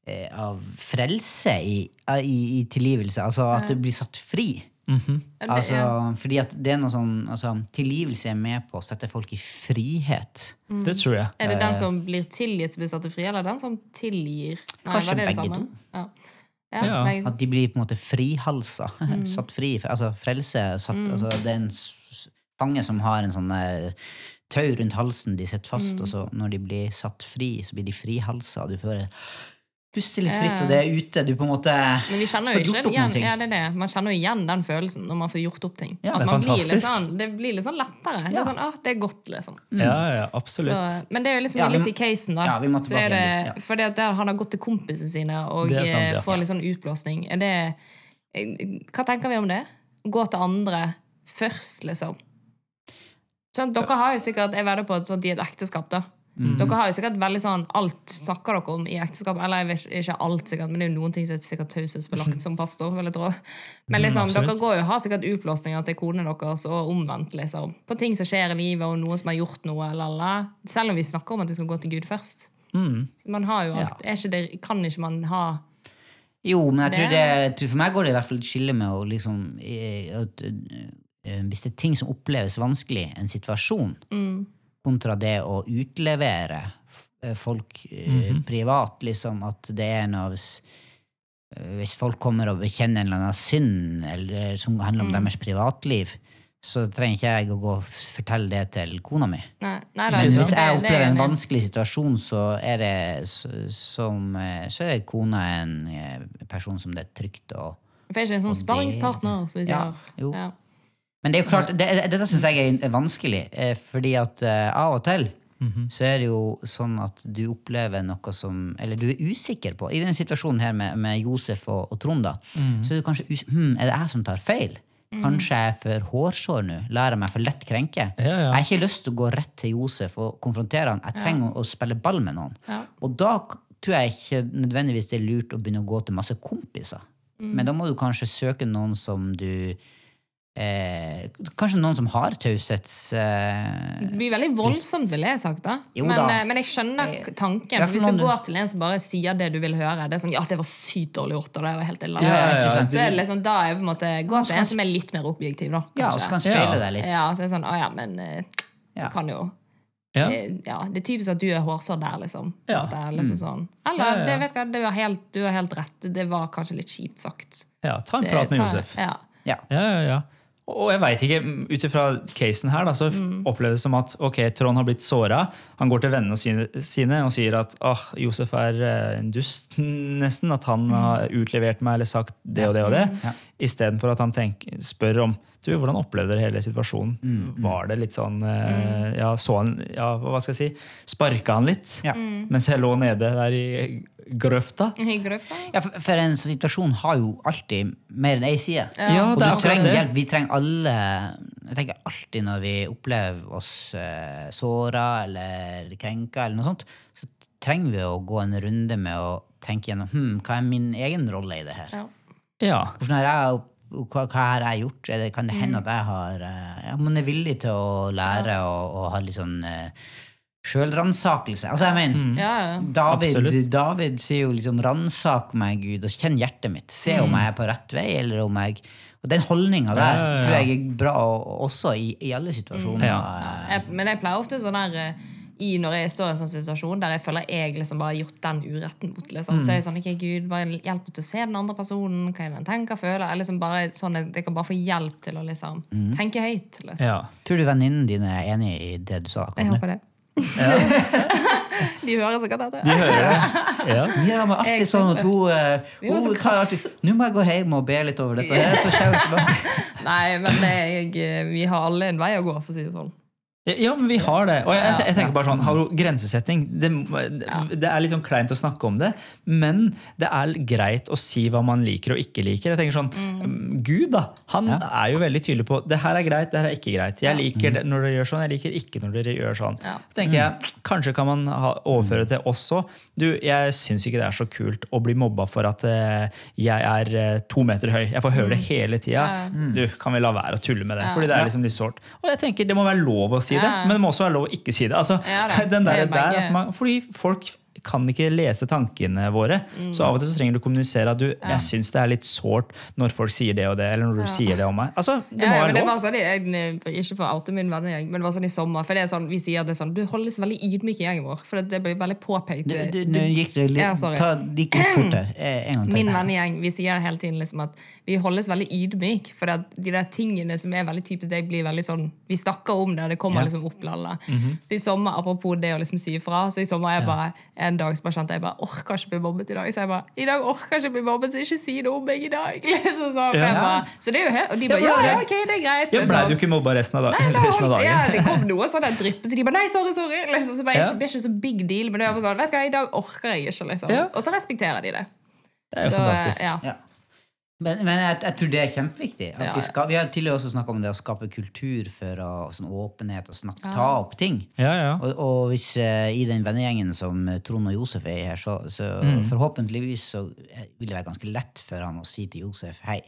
S1: eh, av frelse i, i, i tilgivelse. Altså at du blir satt fri.
S3: Det-
S1: Altså,
S3: ja.
S1: fordi at det er noe sånn altså, Tilgivelse er med på å sette folk i frihet.
S3: Mm.
S2: Det tror jeg.
S3: Er det den som blir tilgitt, som blir satt fri, eller den som tilgir? Nei,
S1: Kanskje
S3: var det det
S1: begge
S3: samme?
S1: to.
S3: Ja. Ja,
S2: Ja.
S3: begge to.
S1: At de blir på en måte frihalsa.
S3: Mm.
S1: Satt fri. Altså frelse. Satt, altså, det er en s- s- fange som har en sånn eh, tau rundt halsen de sitter fast,
S3: Mm.
S1: og så når de blir satt fri, så blir de frihalsa, og du føler Puste litt fritt, og det er ute. Du på en måte
S3: Men vi kjenner
S1: får
S3: jo ikke
S1: gjort opp
S3: igjen,
S1: noen ting.
S3: ja, det er det. Man kjenner jo igjen den følelsen når man får gjort opp ting.
S2: Ja,
S3: At
S2: det er
S3: man blir litt
S2: fantastisk.
S3: sånn, det blir litt sånn lettere. Det er sånn, «Åh, det er godt, liksom.
S1: Mm.
S2: Ja, ja,
S3: Så,
S2: absolutt.
S3: men det er jo liksom
S1: Ja, vi
S3: litt
S1: må-
S3: i casen, da.
S1: Ja, vi må
S3: så er
S1: tilbake igjen dit,
S3: det, fordi at der han har gått til kompisene sine og
S2: Det er sant,
S3: eh,
S2: ja.
S3: får litt sånn utblåsning. Er det, eh, hva tenker vi om det? Gå til andre først, liksom. Sånn, dere har jo sikkert Jeg vedder på at sånt i et ekteskap, da.
S1: Mm.
S3: Dere har jo sikkert veldig sånn Alt snakker dere om i ekteskap. Eller jeg vet ikke- ikke alt, sikkert, men det er jo noen ting som er sikkert taushetsbelagt som pastor. vil jeg tro. Men liksom,
S2: absolutt.
S3: dere går jo har sikkert utblåsninger til konene deres og omvendt. liksom. På ting som skjer i livet, og noen som har gjort noe. Lala. Selv om vi snakker om at vi skal gå til Gud først.
S2: Mm.
S3: Så man har jo alt. Er ikke det, kan ikke man ha
S1: Jo, men jeg tror
S3: Det-
S1: det, jeg tror for meg går det i hvert fall et skille med å liksom eh, at, eh, Hvis det er ting som oppleves vanskelig, en situasjon,
S3: mm,
S1: kontra det å utlevere f- eh, folk eh, privat, liksom at det er noe hvis, eh, hvis folk kommer og bekjenner en eller annen synd eller, som handler om deres privatliv, så trenger ikke jeg å gå og f- fortelle det til kona mi.
S3: Nei, nei da,
S1: Men
S3: det-
S1: hvis
S3: det-
S1: jeg
S3: det er
S1: opplever en
S3: enig.
S1: vanskelig situasjon, så er det s- som eh, Så er kona en eh, person som det er trygt å
S3: For jeg er ikke en sånn sparringspartner, som vi
S1: Ja,
S3: sier.
S1: jo.
S3: Ja.
S1: Men det er jo klart, det, dette syns jeg er er vanskelig, eh, fordi at eh, av og til så er det jo sånn at du opplever noe som Eller du er usikker på. I denne situasjonen her med, med Josef og, og Trond, da, så er du kanskje usikker hm, Er det jeg som tar feil?
S3: Mhm.
S1: Kanskje jeg er for hårsår nå? Lar jeg meg for lett krenke?
S2: Ja, ja.
S1: Jeg har ikke lyst til å gå rett til Josef og konfrontere han. Jeg trenger å, å spille ball med noen.
S3: Ja.
S1: Og da k- tror jeg ikke nødvendigvis det er lurt å begynne å gå til masse kompiser. Men da må du kanskje søke noen som du eh, Kanskje noen som har taushets... Eh,
S3: Det blir veldig voldsomt, ville jeg sagt. da.
S1: Jo
S3: men,
S1: da.
S3: eh, men jeg skjønner k- tanken.
S1: Ja,
S3: For
S1: for
S3: hvis du
S1: noen du-
S3: går til en som bare sier det du vil høre Det er sånn, ja, det var sykt dårlig gjort, og det var helt ille.
S1: ja, ja, ikke sant?
S3: Så er det liksom, da er jeg på en måte, Gå til en som er litt mer objektiv, da.
S1: ja, og så kan
S3: kanskje.
S1: jeg speile
S2: Ja.
S1: deg litt.
S3: Ja, så er det sånn, å ja, men eh,
S1: Ja.
S3: du kan jo
S2: Ja.
S3: eh, ja, Det er typisk at du er hårsår der, liksom.
S2: Ja. Mm.
S3: At det er liksom sånn. Eller
S2: Ja, ja, ja.
S3: Det, vet du hva, det var helt, du har helt rett. Det var kanskje litt kjipt sagt. Eh,
S2: ja, ta en prat med
S3: Ta-
S2: Josef.
S3: Ja.
S1: Ja.
S2: Ja, ja, ja. Og jeg veit ikke, ut ifra casen her, da, så oppleves det som at ok, Trond har blitt såra. Han går til vennene sine- sine og sier at ah, Josef er eh, en dust, nesten. At han har utlevert meg eller sagt det og det og det. Istedenfor at han tenk, spør om du, hvordan opplevde dere hele situasjonen. Var det litt sånn eh, ja, så han, ja, hva skal jeg si, Sparka han litt
S1: Ja.
S2: mens jeg lå nede der i grøfta?
S3: Hyggelig, da.
S1: Ja, for, for en situasjon har jo alltid mer enn ei side.
S2: Ja,
S1: Og
S2: det er
S1: du
S2: akkurat
S1: trenger
S2: det.
S1: hjelp. Vi trenger alle Jeg tenker alltid når vi opplever oss eh, såra eller krenka, eller noe sånt, så trenger vi å gå en runde med å tenke gjennom hm, hva er min egen rolle i det her.
S3: Ja.
S2: Ja.
S1: Hvordan har jeg, hva, hva har jeg gjort? Er det, kan det
S2: Mm.
S1: hende at jeg har eh, ja, Man er villig til å lære og, og ha litt sånn uh, sjølransakelse. Altså, jeg mener
S2: Mm.
S3: Ja, ja.
S1: David,
S2: Absolutt.
S1: David sier jo liksom 'ransak meg, Gud, og kjenn hjertet mitt'. Se om jeg er på rett vei, eller om jeg Og den holdninga der
S2: Mm. Ja, ja, ja.
S1: tror jeg er bra å- også i, i alle situasjoner.
S2: Ja.
S3: jeg, men jeg pleier ofte sånn her eh, i når jeg står i en sånn situasjon der jeg føler jeg liksom bare har gjort den uretten mot. Liksom. Så
S2: Mm.
S3: er jeg sånn ok Gud, bare hjelp meg til å se den andre personen, hva er det den tenker, føler jeg liksom bare sånn at Jeg kan bare få hjelp til å liksom tenke høyt. Liksom.
S2: Mm. ja.
S1: Tror du venninnene dine er enig i det du sa
S3: Jeg
S1: akkurat nå?
S3: håper det. De hører sikkert dette.
S2: De hører det. Ja.
S1: Ja, men
S3: Jeg
S1: artig sånn at hun eh,
S3: Vi var så
S1: hun, hva er
S3: krass.
S1: artig? Nå må jeg gå hjem og be litt over dette. her, så kommer jeg tilbake.
S3: Nei, men jeg, eh, vi har alle en vei å gå, for å si det sånn.
S2: Ja, men vi har det. Og jeg, jeg, jeg tenker bare sånn, hallo, Grensesetting. Det, det er litt sånn kleint å snakke om det, men det er greit å si hva man liker og ikke liker. Jeg tenker sånn, mm, Gud da, han er jo veldig tydelig på det her er greit, det her er ikke greit. Jeg liker det når dere gjør sånn, jeg liker ikke når dere gjør sånn.
S3: Ja.
S2: Så tenker jeg, Kanskje kan man ha, overføre til oss òg. Du, jeg syns ikke det er så kult å bli mobba for at eh, jeg er eh, to meter høy. Jeg får høre
S3: Mm.
S2: det hele tida. Du, kan vi la være å tulle med det? Fordi det er liksom litt sårt. Og jeg tenker det må være lov å si det,
S3: Ja.
S2: men det må også være lov å ikke si det. Altså,
S3: Ja da,
S2: den
S3: det
S2: der,
S3: er begge.
S2: der at man, fordi folk kan ikke lese tankene våre.
S3: Mm.
S2: Så av og til så trenger du å kommunisere at du, jeg syns det er litt sårt når folk sier det og det, eller når du sier det om meg. Altså, det
S3: ja,
S2: må
S3: ja, men
S2: være
S3: det
S2: lov.
S3: var sånn, jeg, jeg- Ikke for å oute min vennegjeng, men det var sånn i sommer. For det er sånn, Vi sier at det er sånn, du holdes veldig ydmyk i gjengen vår. For det, det blir veldig påpekt.
S1: Du, du, nå gikk det
S3: Ja,
S1: litt,
S3: sorry.
S1: ta, det gikk litt fort her. Eh, En gang
S3: Min
S1: til.
S3: vennegjeng vi sier hele tiden liksom at vi holdes veldig ydmyk, for at de der tingene som er veldig typisk deg, blir veldig sånn Vi snakker om det, og det kommer liksom opp til alle. Så i sommer, Apropos det å liksom si ifra, så i sommer er jeg bare en dag som bare kjente jeg bare orker ikke bli mobbet i dag. Så jeg bare I dag orker jeg ikke bli mobbet, så ikke si noe om meg i dag! Liksom sånn. For
S2: Ja.
S3: jeg bare, så det er jo helt Og de
S2: Ja,
S3: bare
S2: for
S3: Ja,
S2: da-
S3: ja, ok, det er greit.
S2: Ja, Blei
S3: liksom.
S2: du ikke mobba resten av, dag,
S3: Nei, da
S2: resten av
S3: holdt- Ja,
S2: dagen?
S3: det kom noe sånn der drypp, så de bare 'nei, sorry', sorry. Liksom, så bare,
S2: Ja.
S3: ikke, det er ikke så big deal, men det er bare sånn, vet du hva, i dag orker jeg ikke, liksom.
S2: Ja.
S3: Og så respekterer de det.
S2: Det er jo
S3: så,
S2: fantastisk.
S3: Ja.
S1: Ja. Men, men jeg, jeg tror det er kjempeviktig. At
S3: Ja,
S1: vi,
S3: ja.
S1: skal, vi har tidligere også snakka om det å skape kultur for å, sånn åpenhet og snakke, ta opp ting.
S2: Ja, ja.
S1: Og, og hvis eh, i den vennegjengen som eh, Trond og Josef er i her, så, så
S3: Mm.
S1: forhåpentligvis så eh, vil det være ganske lett for han å si til Josef hei,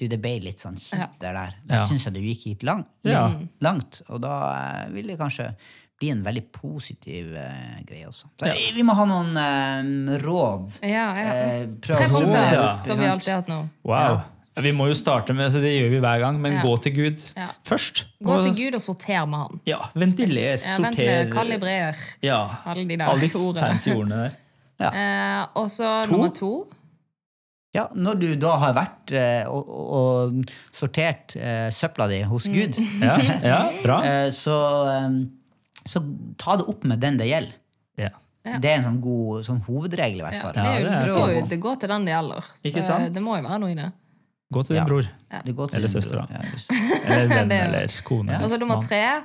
S1: du, det ble litt sånn
S3: Ja.
S1: kjipt det der. Da
S2: Ja.
S1: syns jeg du gikk hit lang,
S2: Ja.
S1: litt langt. Og da eh, vil det kanskje bli en veldig positiv eh, greie også. Så, eh, Vi må ha noen eh, råd.
S3: Ja, ja.
S1: Eh, prøv
S3: Tre
S1: å zoome
S3: punkter
S2: Ja.
S3: som vi alltid har hatt nå.
S2: Wow. Vi må jo starte med, så Det gjør vi hver gang, men
S3: Ja.
S2: gå til Gud
S3: Ja.
S2: først.
S3: Gå til Gud og sorter med han.
S2: Ja, Ventiler,
S3: Eh, Vent litt,
S2: sorter
S3: kalibrer.
S2: ja.
S3: Alle de der
S2: Alle de
S3: ordene.
S2: fancy ordene der.
S3: Eh, og så nummer to.
S1: Ja, når du da har vært eh, og, og, og sortert eh, søpla di hos
S3: Mm.
S1: Gud,
S2: Ja, ja bra.
S1: eh, så, eh, så ta det opp med den det gjelder.
S2: Ja.
S3: Ja.
S1: Det er en sånn god sånn hovedregel, i hvert
S3: Ja,
S1: fall.
S3: det, er jo,
S2: Ja, det er
S3: det står
S1: jo-
S3: jo det går til den det gjelder. Så eh,
S2: Ikke sant?
S3: det må jo være noe i det.
S2: Gå til din
S1: Ja.
S2: bror.
S1: Det går til
S2: Eller
S1: din
S2: søstera.
S1: bror. Ja, just-
S2: Eller venn
S3: Det er jo-
S2: eller kone.
S3: Og så
S2: Eller.
S3: nummer tre.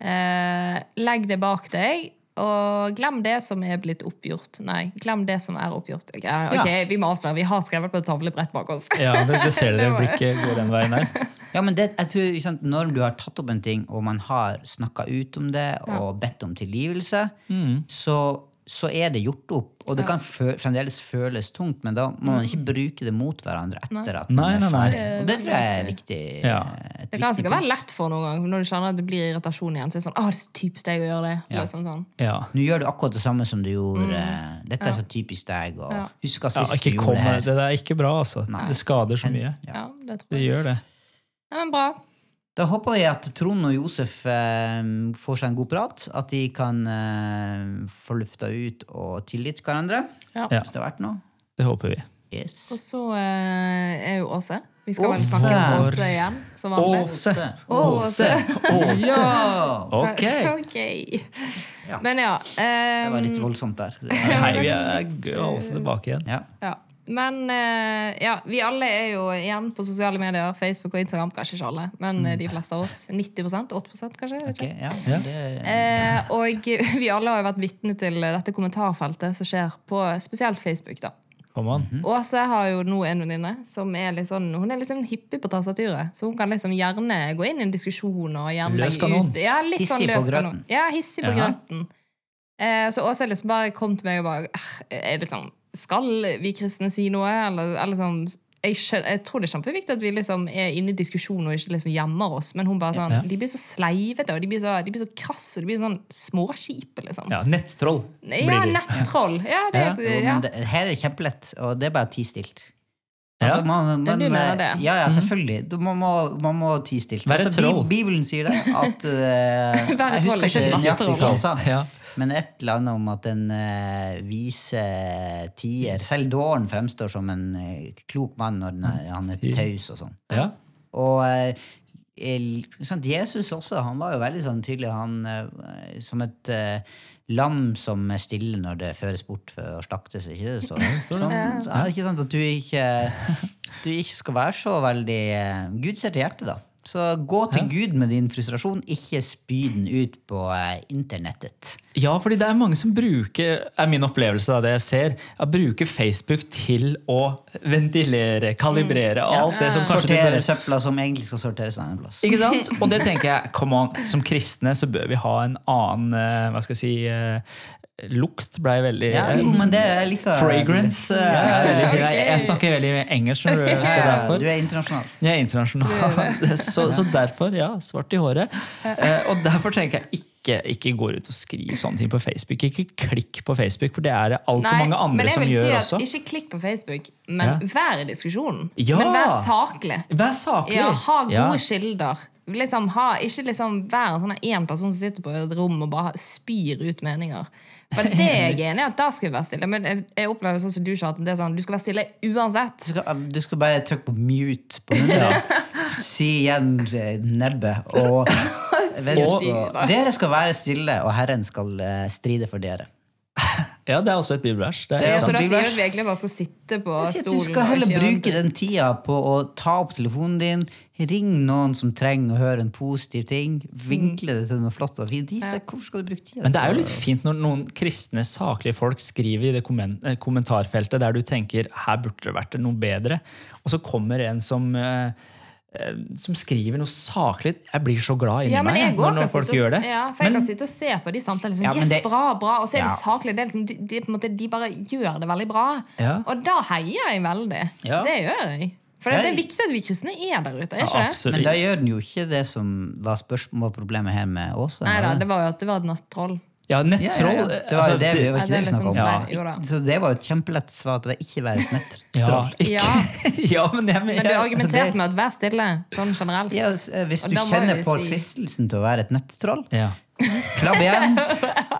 S3: Eh, legg det bak deg, og glem det som er blitt oppgjort. Nei, glem det som er oppgjort. Ok, eh, ok, vi må avsløre. Vi har skrevet på et tavlebrett bak oss.
S2: Ja, det, det ser dere blikket går den veien der.
S1: ja, men det, jeg tror, ikke sant, Når du har tatt opp en ting, og man har snakka ut om det og bedt om tilgivelse,
S2: Mm.
S1: så, så er det gjort opp. Og det kan fø fremdeles føles tungt, men da må man ikke bruke det mot hverandre etter at man
S2: Nei,
S1: er
S2: nei, nei.
S1: ferdig. Og det tror jeg er viktig. eh,
S2: Ja.
S1: et
S3: Det kan
S1: viktig
S3: sikkert være lett for noen gang når du kjenner at det blir irritasjon igjen. Så er det sånn, «Åh, det er så typisk deg å gjøre det. Liksom sånn.
S2: Ja.
S1: Nå gjør du akkurat det samme som du gjorde. eh, Dette er så typisk deg. Og
S3: Ja.
S1: Husk at
S2: Ja,
S1: sist
S2: ikke
S1: du
S2: kom
S1: gjorde
S2: med
S1: det her.
S2: det. Det er ikke bra, altså. Det skader så mye.
S1: Ja.
S3: Ja, det tror
S2: Det
S3: jeg.
S2: gjør det.
S3: Nei, men bra.
S1: Da håper vi at Trond og Josef eh, får seg en god prat. At de kan eh, få lufta ut og tilgitt hverandre.
S3: Ja.
S2: Ja.
S1: Hvis det har vært noe.
S2: Det håper vi.
S1: Yes.
S3: Og så eh, er jo Åse. Vi skal vel
S1: Åse.
S3: snakke om Åse igjen, som vanlig.
S2: Åse!
S3: Åse.
S2: Åse!
S1: Ja!
S2: Ok.
S3: Ok.
S1: Ja.
S3: Men ja. eh,
S1: Det var litt voldsomt der.
S2: Hei, vi er g- Åse tilbake igjen.
S1: Ja.
S3: ja. Men eh, ja, vi alle er jo igjen på sosiale medier. Facebook og Instagram. Kanskje ikke alle, men eh, de fleste av oss. 90 8 kanskje? jeg vet
S1: Ok,
S3: ikke.
S1: ja. Det,
S3: Eh, og vi alle har jo vært vitne til dette kommentarfeltet som skjer på eh, spesielt Facebook. da.
S2: Kom an.
S3: Åse har jo nå en venninne som er litt sånn, hun er litt sånn hyppig på tastaturet. Så hun kan liksom gjerne gå inn i en diskusjon og gjerne
S2: Løs
S3: legge
S2: kanon.
S3: ut ja, litt sånn
S1: Hissig på
S3: løs
S1: grøten.
S3: kanon. Ja, hissig på
S2: Ja.
S3: grøten. Eh, så Åse liksom bare kom til meg og bare "Eh, er det sånn, Skal vi kristne si noe? Eller, eller sånn jeg, skjøn- jeg tror det er kjempeviktig at vi liksom er inne i diskusjon og ikke liksom gjemmer oss. Men hun bare sånn,
S2: Ja.
S3: de blir så sleivete og de blir så, de blir så krasse og de blir sånn småskipe. liksom.
S2: Ja, nettroll
S3: Ja,
S2: blir de.
S3: nettroll. Ja, det,
S1: Ja, jo,
S3: ja.
S1: men det, her er det kjempelett, og det er bare å tie stilt.
S2: Ja.
S1: Altså, man,
S3: Ja,
S1: man,
S3: du mener det.
S1: ja, ja, selvfølgelig. Du, man, må, man må tie stilt.
S2: Være troll.
S1: Bi- Bibelen sier det. At, eh,
S3: Være
S1: jeg
S3: troll,
S1: husker
S3: ikke
S1: ikke nøyaktig
S3: nattroll.
S1: hva han sa,
S2: Ja.
S1: men et eller annet om at en eh, vise tier Selv dåren fremstår som en eh, klok mann når den er, han er
S2: Tier.
S1: taus og sånn.
S2: Ja.
S1: Og eh, el- sant, Jesus også, han var jo veldig sånn tydelig han, eh, som et eh, lam som er stille når det føres bort for å slaktes. Ikke det står? Sånn, ja, ikke sant at du ikke, du ikke skal være så veldig eh, Gud ser til hjertet, da. Så gå til Gud med din frustrasjon, ikke spy den ut på eh, internettet.
S2: Ja, fordi det er mange som bruker er min opplevelse av det jeg ser, er bruker Facebook til å ventilere, kalibrere,
S1: Mm.
S2: alt det som kanskje du
S1: Sortere
S2: bør
S1: søpla som egentlig skal sorteres en annen plass.
S2: Ikke sant? Og det tenker jeg, come on, som kristne så bør vi ha en annen eh, hva skal jeg si, eh, lukt blei veldig eh,
S1: Ja, jo, men det er like
S2: Fragrance. eh, er veldig fint. Jeg, jeg snakker veldig engelsk, skjønner du, så
S1: Ja,
S2: derfor.
S1: du er internasjonal.
S2: Jeg er internasjonal, så, så derfor, ja. Svart i håret. Eh, og derfor tenker jeg ikke ikke, ikke går ut og skriver sånne ting på Facebook. Ikke klikk på Facebook, for det er det altfor mange
S3: men
S2: andre
S3: jeg
S2: som
S3: vil
S2: gjør
S3: si at
S2: også.
S3: Ikke klikk på Facebook, men
S2: Ja.
S3: vær i diskusjonen.
S2: Ja.
S3: Men vær saklig.
S2: Vær saklig!
S3: Ja, ha gode
S2: Ja.
S3: kilder. Liksom, ha, ikke liksom vær en sånn én person som sitter på et rom og bare spyr ut meninger. For det er jeg enig i, at da skal vi være stille. Men jeg, jeg opplever sånn som du sa, at det er sånn, du skal være stille uansett.
S1: Du skal, um, du skal bare trykke på mute på munnen. Si igjen eh, nebbet. Og,
S2: Og-
S1: og dere skal være stille, og Herren skal eh, stride for dere.
S2: Ja, det er også et bibelvers. Det er
S1: Det er
S2: sant.
S3: Så da
S1: sant.
S3: sier du at vi egentlig bare skal sitte på
S1: Jeg sier at
S3: stolen.
S1: Du skal
S3: og
S1: heller
S3: ikke gjøre
S1: bruke
S3: noe.
S1: den tida på å ta opp telefonen din, ring noen som trenger å høre en positiv ting,
S3: Mm.
S1: vinkle det til noe flott og fint. Gi seg, Hvorfor skal du bruke tida?
S2: Men det er jo litt fint når noen kristne, saklige folk skriver i det kommen- eh, kommentarfeltet der du tenker her burde det vært noe bedre, og så kommer en som eh, eh, som skriver noe saklig. Jeg blir så glad inni
S3: Ja, men
S2: meg
S3: jeg
S2: jeg,
S3: går,
S2: når, når
S3: kan
S2: folk
S3: sitte og-
S2: gjør det.
S3: Ja, for jeg kan sitte og se på de samtalene. Sånn,
S1: Ja, men
S3: yes,
S1: det-
S3: bra, bra. Og så er det
S1: Ja.
S3: saklig. Det er liksom, de, de, på en måte, de bare gjør det veldig bra.
S2: Ja.
S3: Og da heier jeg veldig.
S2: Ja.
S3: Det gjør jeg. For det, det er
S1: Hei.
S3: viktig at vi kristne er der ute. er
S2: Ja,
S3: ikke det?
S2: absolutt.
S1: Men da gjør den jo ikke det som var, spørsmål, var problemet her med Åse.
S3: Nei da,
S1: var det?
S3: det var jo at det var et nattroll.
S1: Ja,
S2: Ja,
S1: ja, ja. Det var
S2: nettroll.
S1: jo
S2: altså,
S1: det vi
S2: det-
S1: var
S3: Ja,
S1: ikke
S3: det er
S1: det vi snakket
S3: liksom
S1: om.
S3: sånn, jo da.
S1: Så det var jo et kjempelett svar på det. Ikke være et
S2: ja,
S1: nettroll.
S2: ikke,
S3: Ja.
S2: ja, altså, men jeg
S3: Men du
S2: mener
S3: argumenterte
S1: det-
S3: med at vær stille, sånn generelt.
S1: Ja, s- eh, hvis
S3: Og
S1: du
S3: da må
S1: kjenner
S3: vi
S1: på
S3: si-
S1: fristelsen til å være et nettroll,
S2: ja.
S1: klabb igjen.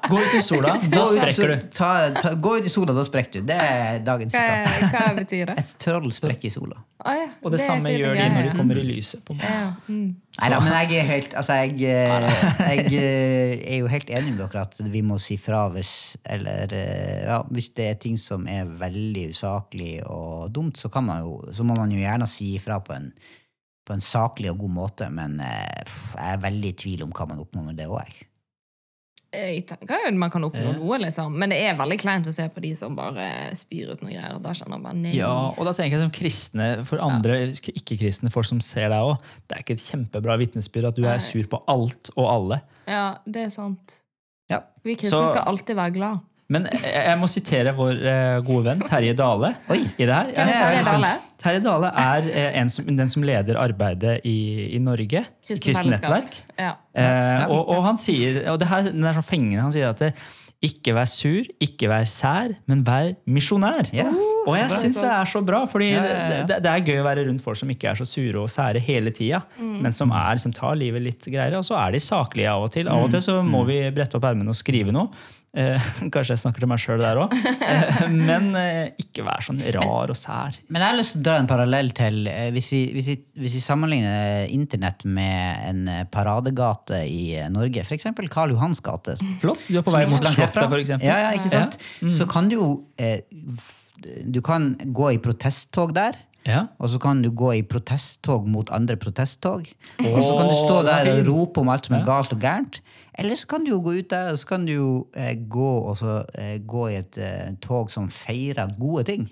S2: Gå ut i sola,
S1: Gå
S2: da
S1: ut, i
S2: sprekker
S1: sol-
S2: du.
S1: ta, ta, gå ut i sola, da sprekker du. Det er dagens
S3: Hva,
S1: sitat.
S3: hva betyr det?
S1: Et troll sprekker i sola.
S3: Å ja,
S2: Og det,
S3: er
S2: samme
S3: sikkert
S2: gjør de
S3: en
S2: når
S3: greie.
S2: de kommer i lyset. på en måte.
S3: ja. mm.
S1: Nei da, men jeg er, helt, altså jeg, eh, jeg eh, er jo helt enig med dere at vi må si fra hvis, eller, eh, ja, hvis det er ting som er veldig usaklig og dumt, så, kan man jo, så må man jo gjerne si ifra på en, på en saklig og god måte, men eh, pff, jeg er veldig i tvil om hva man oppnår med det òg.
S3: Jeg tenker jo at man kan oppnå noe, liksom. Men det er veldig kleint å se på de som bare spyr ut noe greier. Da kjenner man bare nei.
S2: Ja, og da tenker jeg som kristne, for andre ikke-kristne folk som ser deg òg, det er ikke et kjempebra vitnesbyrd at du
S3: Nei.
S2: er sur på alt og alle.
S3: Ja, det er sant.
S1: Ja.
S3: Vi kristne
S2: Så-
S3: skal alltid være glad.
S2: Men jeg jeg må sitere vår eh, gode venn Terje Dale
S1: Oi.
S2: i det her.
S3: Hvem er Terje Dale?
S2: Terje Dale er eh, en som, den som leder arbeidet i, i Norge.
S3: Kristent
S2: Kristent
S3: fellesskap.
S2: nettverk.
S3: Ja.
S2: Eh, og, og han sier, og det her den er sånn fengende, han sier at det, ikke vær sur, ikke vær sær, men vær misjonær. Uh,
S1: Ja.
S2: og jeg syns det er så bra, fordi
S1: Ja, ja, ja.
S2: Det, det er gøy å være rundt folk som ikke er så sure og sære hele tida, men som, er, som tar livet litt greiere, og så er de saklige av og til. Av og til så må vi brette opp ermene og skrive noe. Eh, kanskje jeg snakker til meg sjøl der òg. Eh, men eh, ikke vær sånn rar og sær.
S1: Men jeg har lyst til å dra en parallell til eh, hvis vi, hvis, vi, hvis vi sammenligner internett med en eh, paradegate i eh, Norge, f.eks. Karl Johans gate.
S2: Flott. Du er på vei mot
S1: Langt herfra.
S2: Slottet, for eksempel. Mm.
S1: Ja, ja, ikke sant? Så kan du jo eh, f- Du kan gå i protesttog der.
S2: Ja.
S1: Og så kan du gå i protesttog mot andre protesttog. Og så kan du stå
S2: Åh, det er
S1: der og
S2: fint.
S1: rope om alt som er galt og gærent. Eller så kan du jo gå ut der og så kan du jo eh, gå, og så, eh, gå i et eh, tog som feirer gode ting.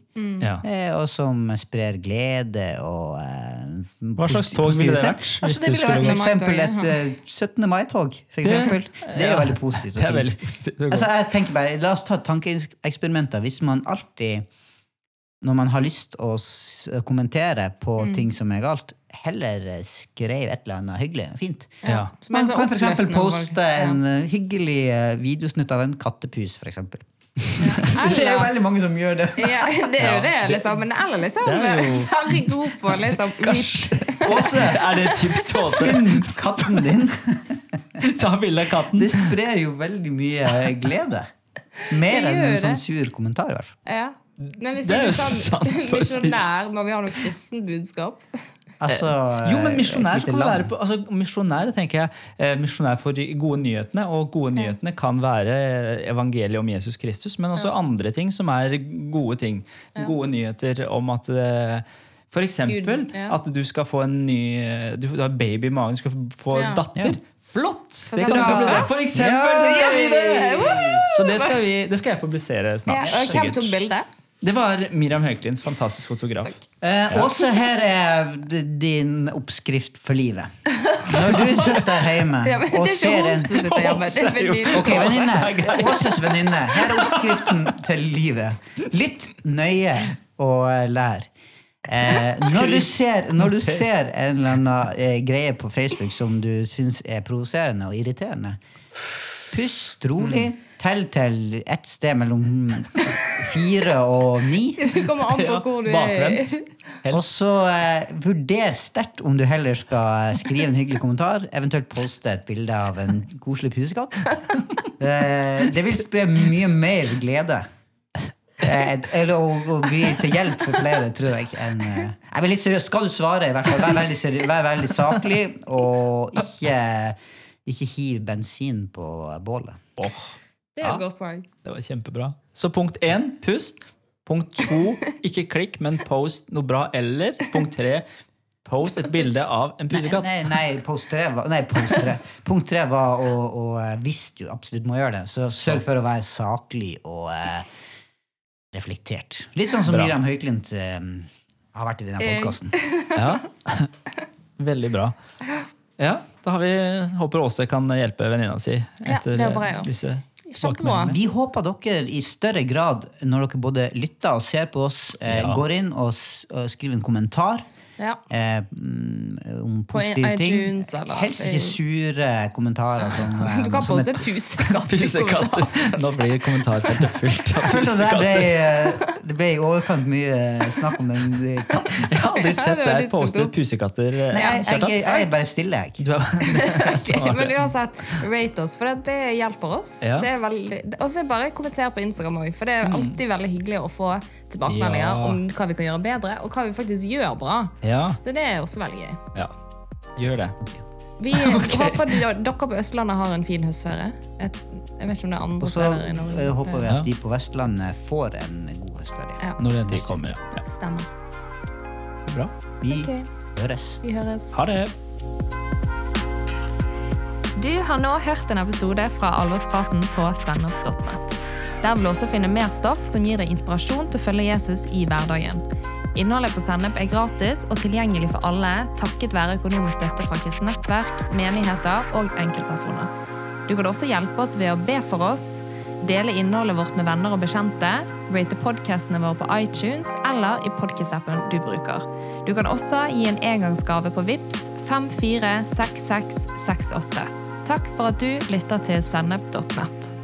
S2: Ja.
S1: Eh, og som sprer glede og eh,
S2: Hva slags tog ville det vært?
S1: Altså,
S2: hvis
S1: det
S2: du
S1: ville
S2: skulle
S1: vært
S2: gå-
S1: for eksempel
S3: Mai-toget,
S1: et eh, 17. mai-tog. For eksempel. Det er jo veldig positivt. og
S2: Det er
S1: fint.
S2: veldig positivt. Det er
S1: Altså, jeg tenker bare, La oss ta tankeeksperimenter. Hvis man alltid, når man har lyst å s kommentere på ting som er galt, heller eh, skrev et eller annet hyggelig og fint.
S2: Ja.
S3: Så
S1: Man
S3: så
S1: kan f.eks.
S3: oppløftende
S1: poste
S3: folk.
S1: en eh, hyggelig eh, videosnutt av en kattepus. For eksempel.
S3: Ja.
S1: det er jo
S3: Eller,
S1: veldig mange som gjør det.
S3: ja, det er
S2: Ja.
S3: jo det, liksom. Men eller liksom
S2: Det er jo-
S3: være god på liksom
S2: Kanskje.
S1: Åse,
S2: Er det et tips til Åse?
S1: finn katten din.
S2: Ta bilde av katten.
S1: Det sprer jo veldig mye eh, glede. Mer enn en
S3: gjør
S1: sånn
S3: det.
S1: sur kommentar. i hvert fall.
S3: Ja. Men hvis
S2: Det er
S3: vi
S2: jo
S3: sånn,
S2: sant, faktisk.
S3: misjonær, må vi ha noe kristent budskap?
S1: Altså,
S2: Jo, men
S1: eh,
S2: misjonær
S1: et lite
S2: kan
S1: lam.
S2: være på, altså misjonær tenker jeg, eh, misjonær for de gode nyhetene, og gode nyhetene kan være eh, evangeliet om Jesus Kristus, men også andre ting som er gode ting. Gode nyheter om at eh, for eksempel
S3: Gud, ja.
S2: at du skal få en ny eh, Du har baby i magen, du skal få
S3: Ja.
S2: datter.
S1: Ja.
S2: Flott! Det
S3: skal
S2: kan
S3: du
S2: du
S3: ha.
S2: publisere. For eksempel!
S1: Ja!
S2: Det skal vi det! Så det skal, vi, det skal jeg publisere
S3: Ja.
S2: snart.
S3: Og hvem
S2: sikkert.
S3: tok bildet?
S2: Det var Miriam Høklin, fantastisk fotograf.
S1: Eh, Også her er d- din oppskrift for livet. Når du sitter hjemme
S3: Ja, men det
S1: og
S3: er ikke
S1: ser
S3: hun
S1: en
S3: som sitter hjemme.
S2: Åse
S3: Det er
S2: er jo-
S3: venninnen.
S1: Ok, venninne. Åses venninne. Her er oppskriften til livet. Lytt nøye og eh, lær. Eh, når, du ser, når du ser en eller annen eh, greie på Facebook som du syns er provoserende og irriterende, Pust rolig. Tell til ett sted mellom fire og ni.
S3: Det kommer an på
S2: Ja,
S3: hvor du
S2: bakvendt.
S3: er.
S1: Og så eh, vurder sterkt om du heller skal skrive en hyggelig kommentar, eventuelt poste et bilde av en koselig pusekatt. Eh, det vil spre mye mer glede. Eh, eller å, å bli til hjelp for flere, tror jeg. Enn, eh, jeg blir litt seriøs. Skal du svare, i hvert fall, vær veldig, seri vær veldig saklig, og ikke, ikke hiv bensin på bålet.
S2: Åh,
S3: Det er et godt poeng.
S2: det var kjempebra. Så punkt én pust. Punkt to ikke klikk, men post noe bra. Eller punkt tre post et bilde av en pusekatt.
S1: Nei, nei, post tre var, nei post tre. punkt tre var å, å eh, Hvis du absolutt må gjøre det, så sørg for å være saklig og eh, reflektert. Litt sånn som
S2: Bra.
S1: Miriam Høyklint eh, har vært i denne
S3: Eh.
S1: podkasten.
S2: Ja. Veldig bra. Ja, da har vi, håper Åse kan hjelpe venninna si
S3: Ja,
S2: etter eh,
S3: det håper jeg også.
S2: disse
S3: Kjempebra.
S2: tilbakemeldingene.
S1: Vi håper dere i større grad, når dere både lytter og ser på oss, eh,
S2: Ja.
S1: går inn og, s og skriver en kommentar.
S3: Ja.
S1: eh, mm, om
S3: På
S1: positive ting.
S3: iTunes eller-
S1: Helst ikke sure kommentarer. Som, eh,
S3: Du kan
S1: som et
S3: poste et pusekatt. i
S2: Pusekatt.
S3: kommentaren.
S2: Nå blir kommentarfeltet fullt av
S1: Jeg følte at Det
S2: pusekatter.
S1: ble, det ble i overkant mye snakk om den eh, katten.
S2: Jeg har aldri sett
S3: det var
S2: deg
S3: litt stort
S2: poste
S3: opp.
S2: pusekatter. eh,
S1: Nei, jeg,
S2: Kjartan.
S1: jeg, jeg er bare stille, jeg.
S2: Du er- Sånn var
S3: Men
S2: det.
S3: uansett, rate oss, for det hjelper oss.
S2: Ja. Mm.
S3: Det er veldig, og så bare kommenter på Instagram òg, for det er alltid veldig hyggelig å få tilbakemeldinger
S2: Ja.
S3: om hva vi kan gjøre bedre, og hva vi faktisk gjør bra.
S2: Ja,
S3: Så det er også veldig gøy.
S2: ja. Gjør det.
S3: Vi håper de- dere på Østlandet har en fin høstferie. Jeg, jeg vet ikke om det er andre
S1: Og så
S3: steder i Norge.
S1: eh, håper vi
S2: Ja.
S1: at de på Vestlandet får en god høstferie.
S3: Ja,
S2: Når det tid kommer. ja. Ja.
S3: stemmer.
S2: Bra.
S1: Vi
S3: Ok.
S1: høres.
S3: Vi høres.
S2: Ha det.
S3: Du har nå hørt en episode fra Alvorspraten på sennep.net. Der vil du også finne mer stoff som gir deg inspirasjon til å følge Jesus i hverdagen. Innholdet på Sennep er gratis og tilgjengelig for alle takket være økonomisk støtte fra kristent nettverk, menigheter og enkeltpersoner. Du kan også hjelpe oss ved å be for oss, dele innholdet vårt med venner og bekjente, rate podkastene våre på iTunes eller i podkast-appen du bruker. Du kan også gi en engangsgave på VIPS 546668. Takk for at du lytter til sennep.nett.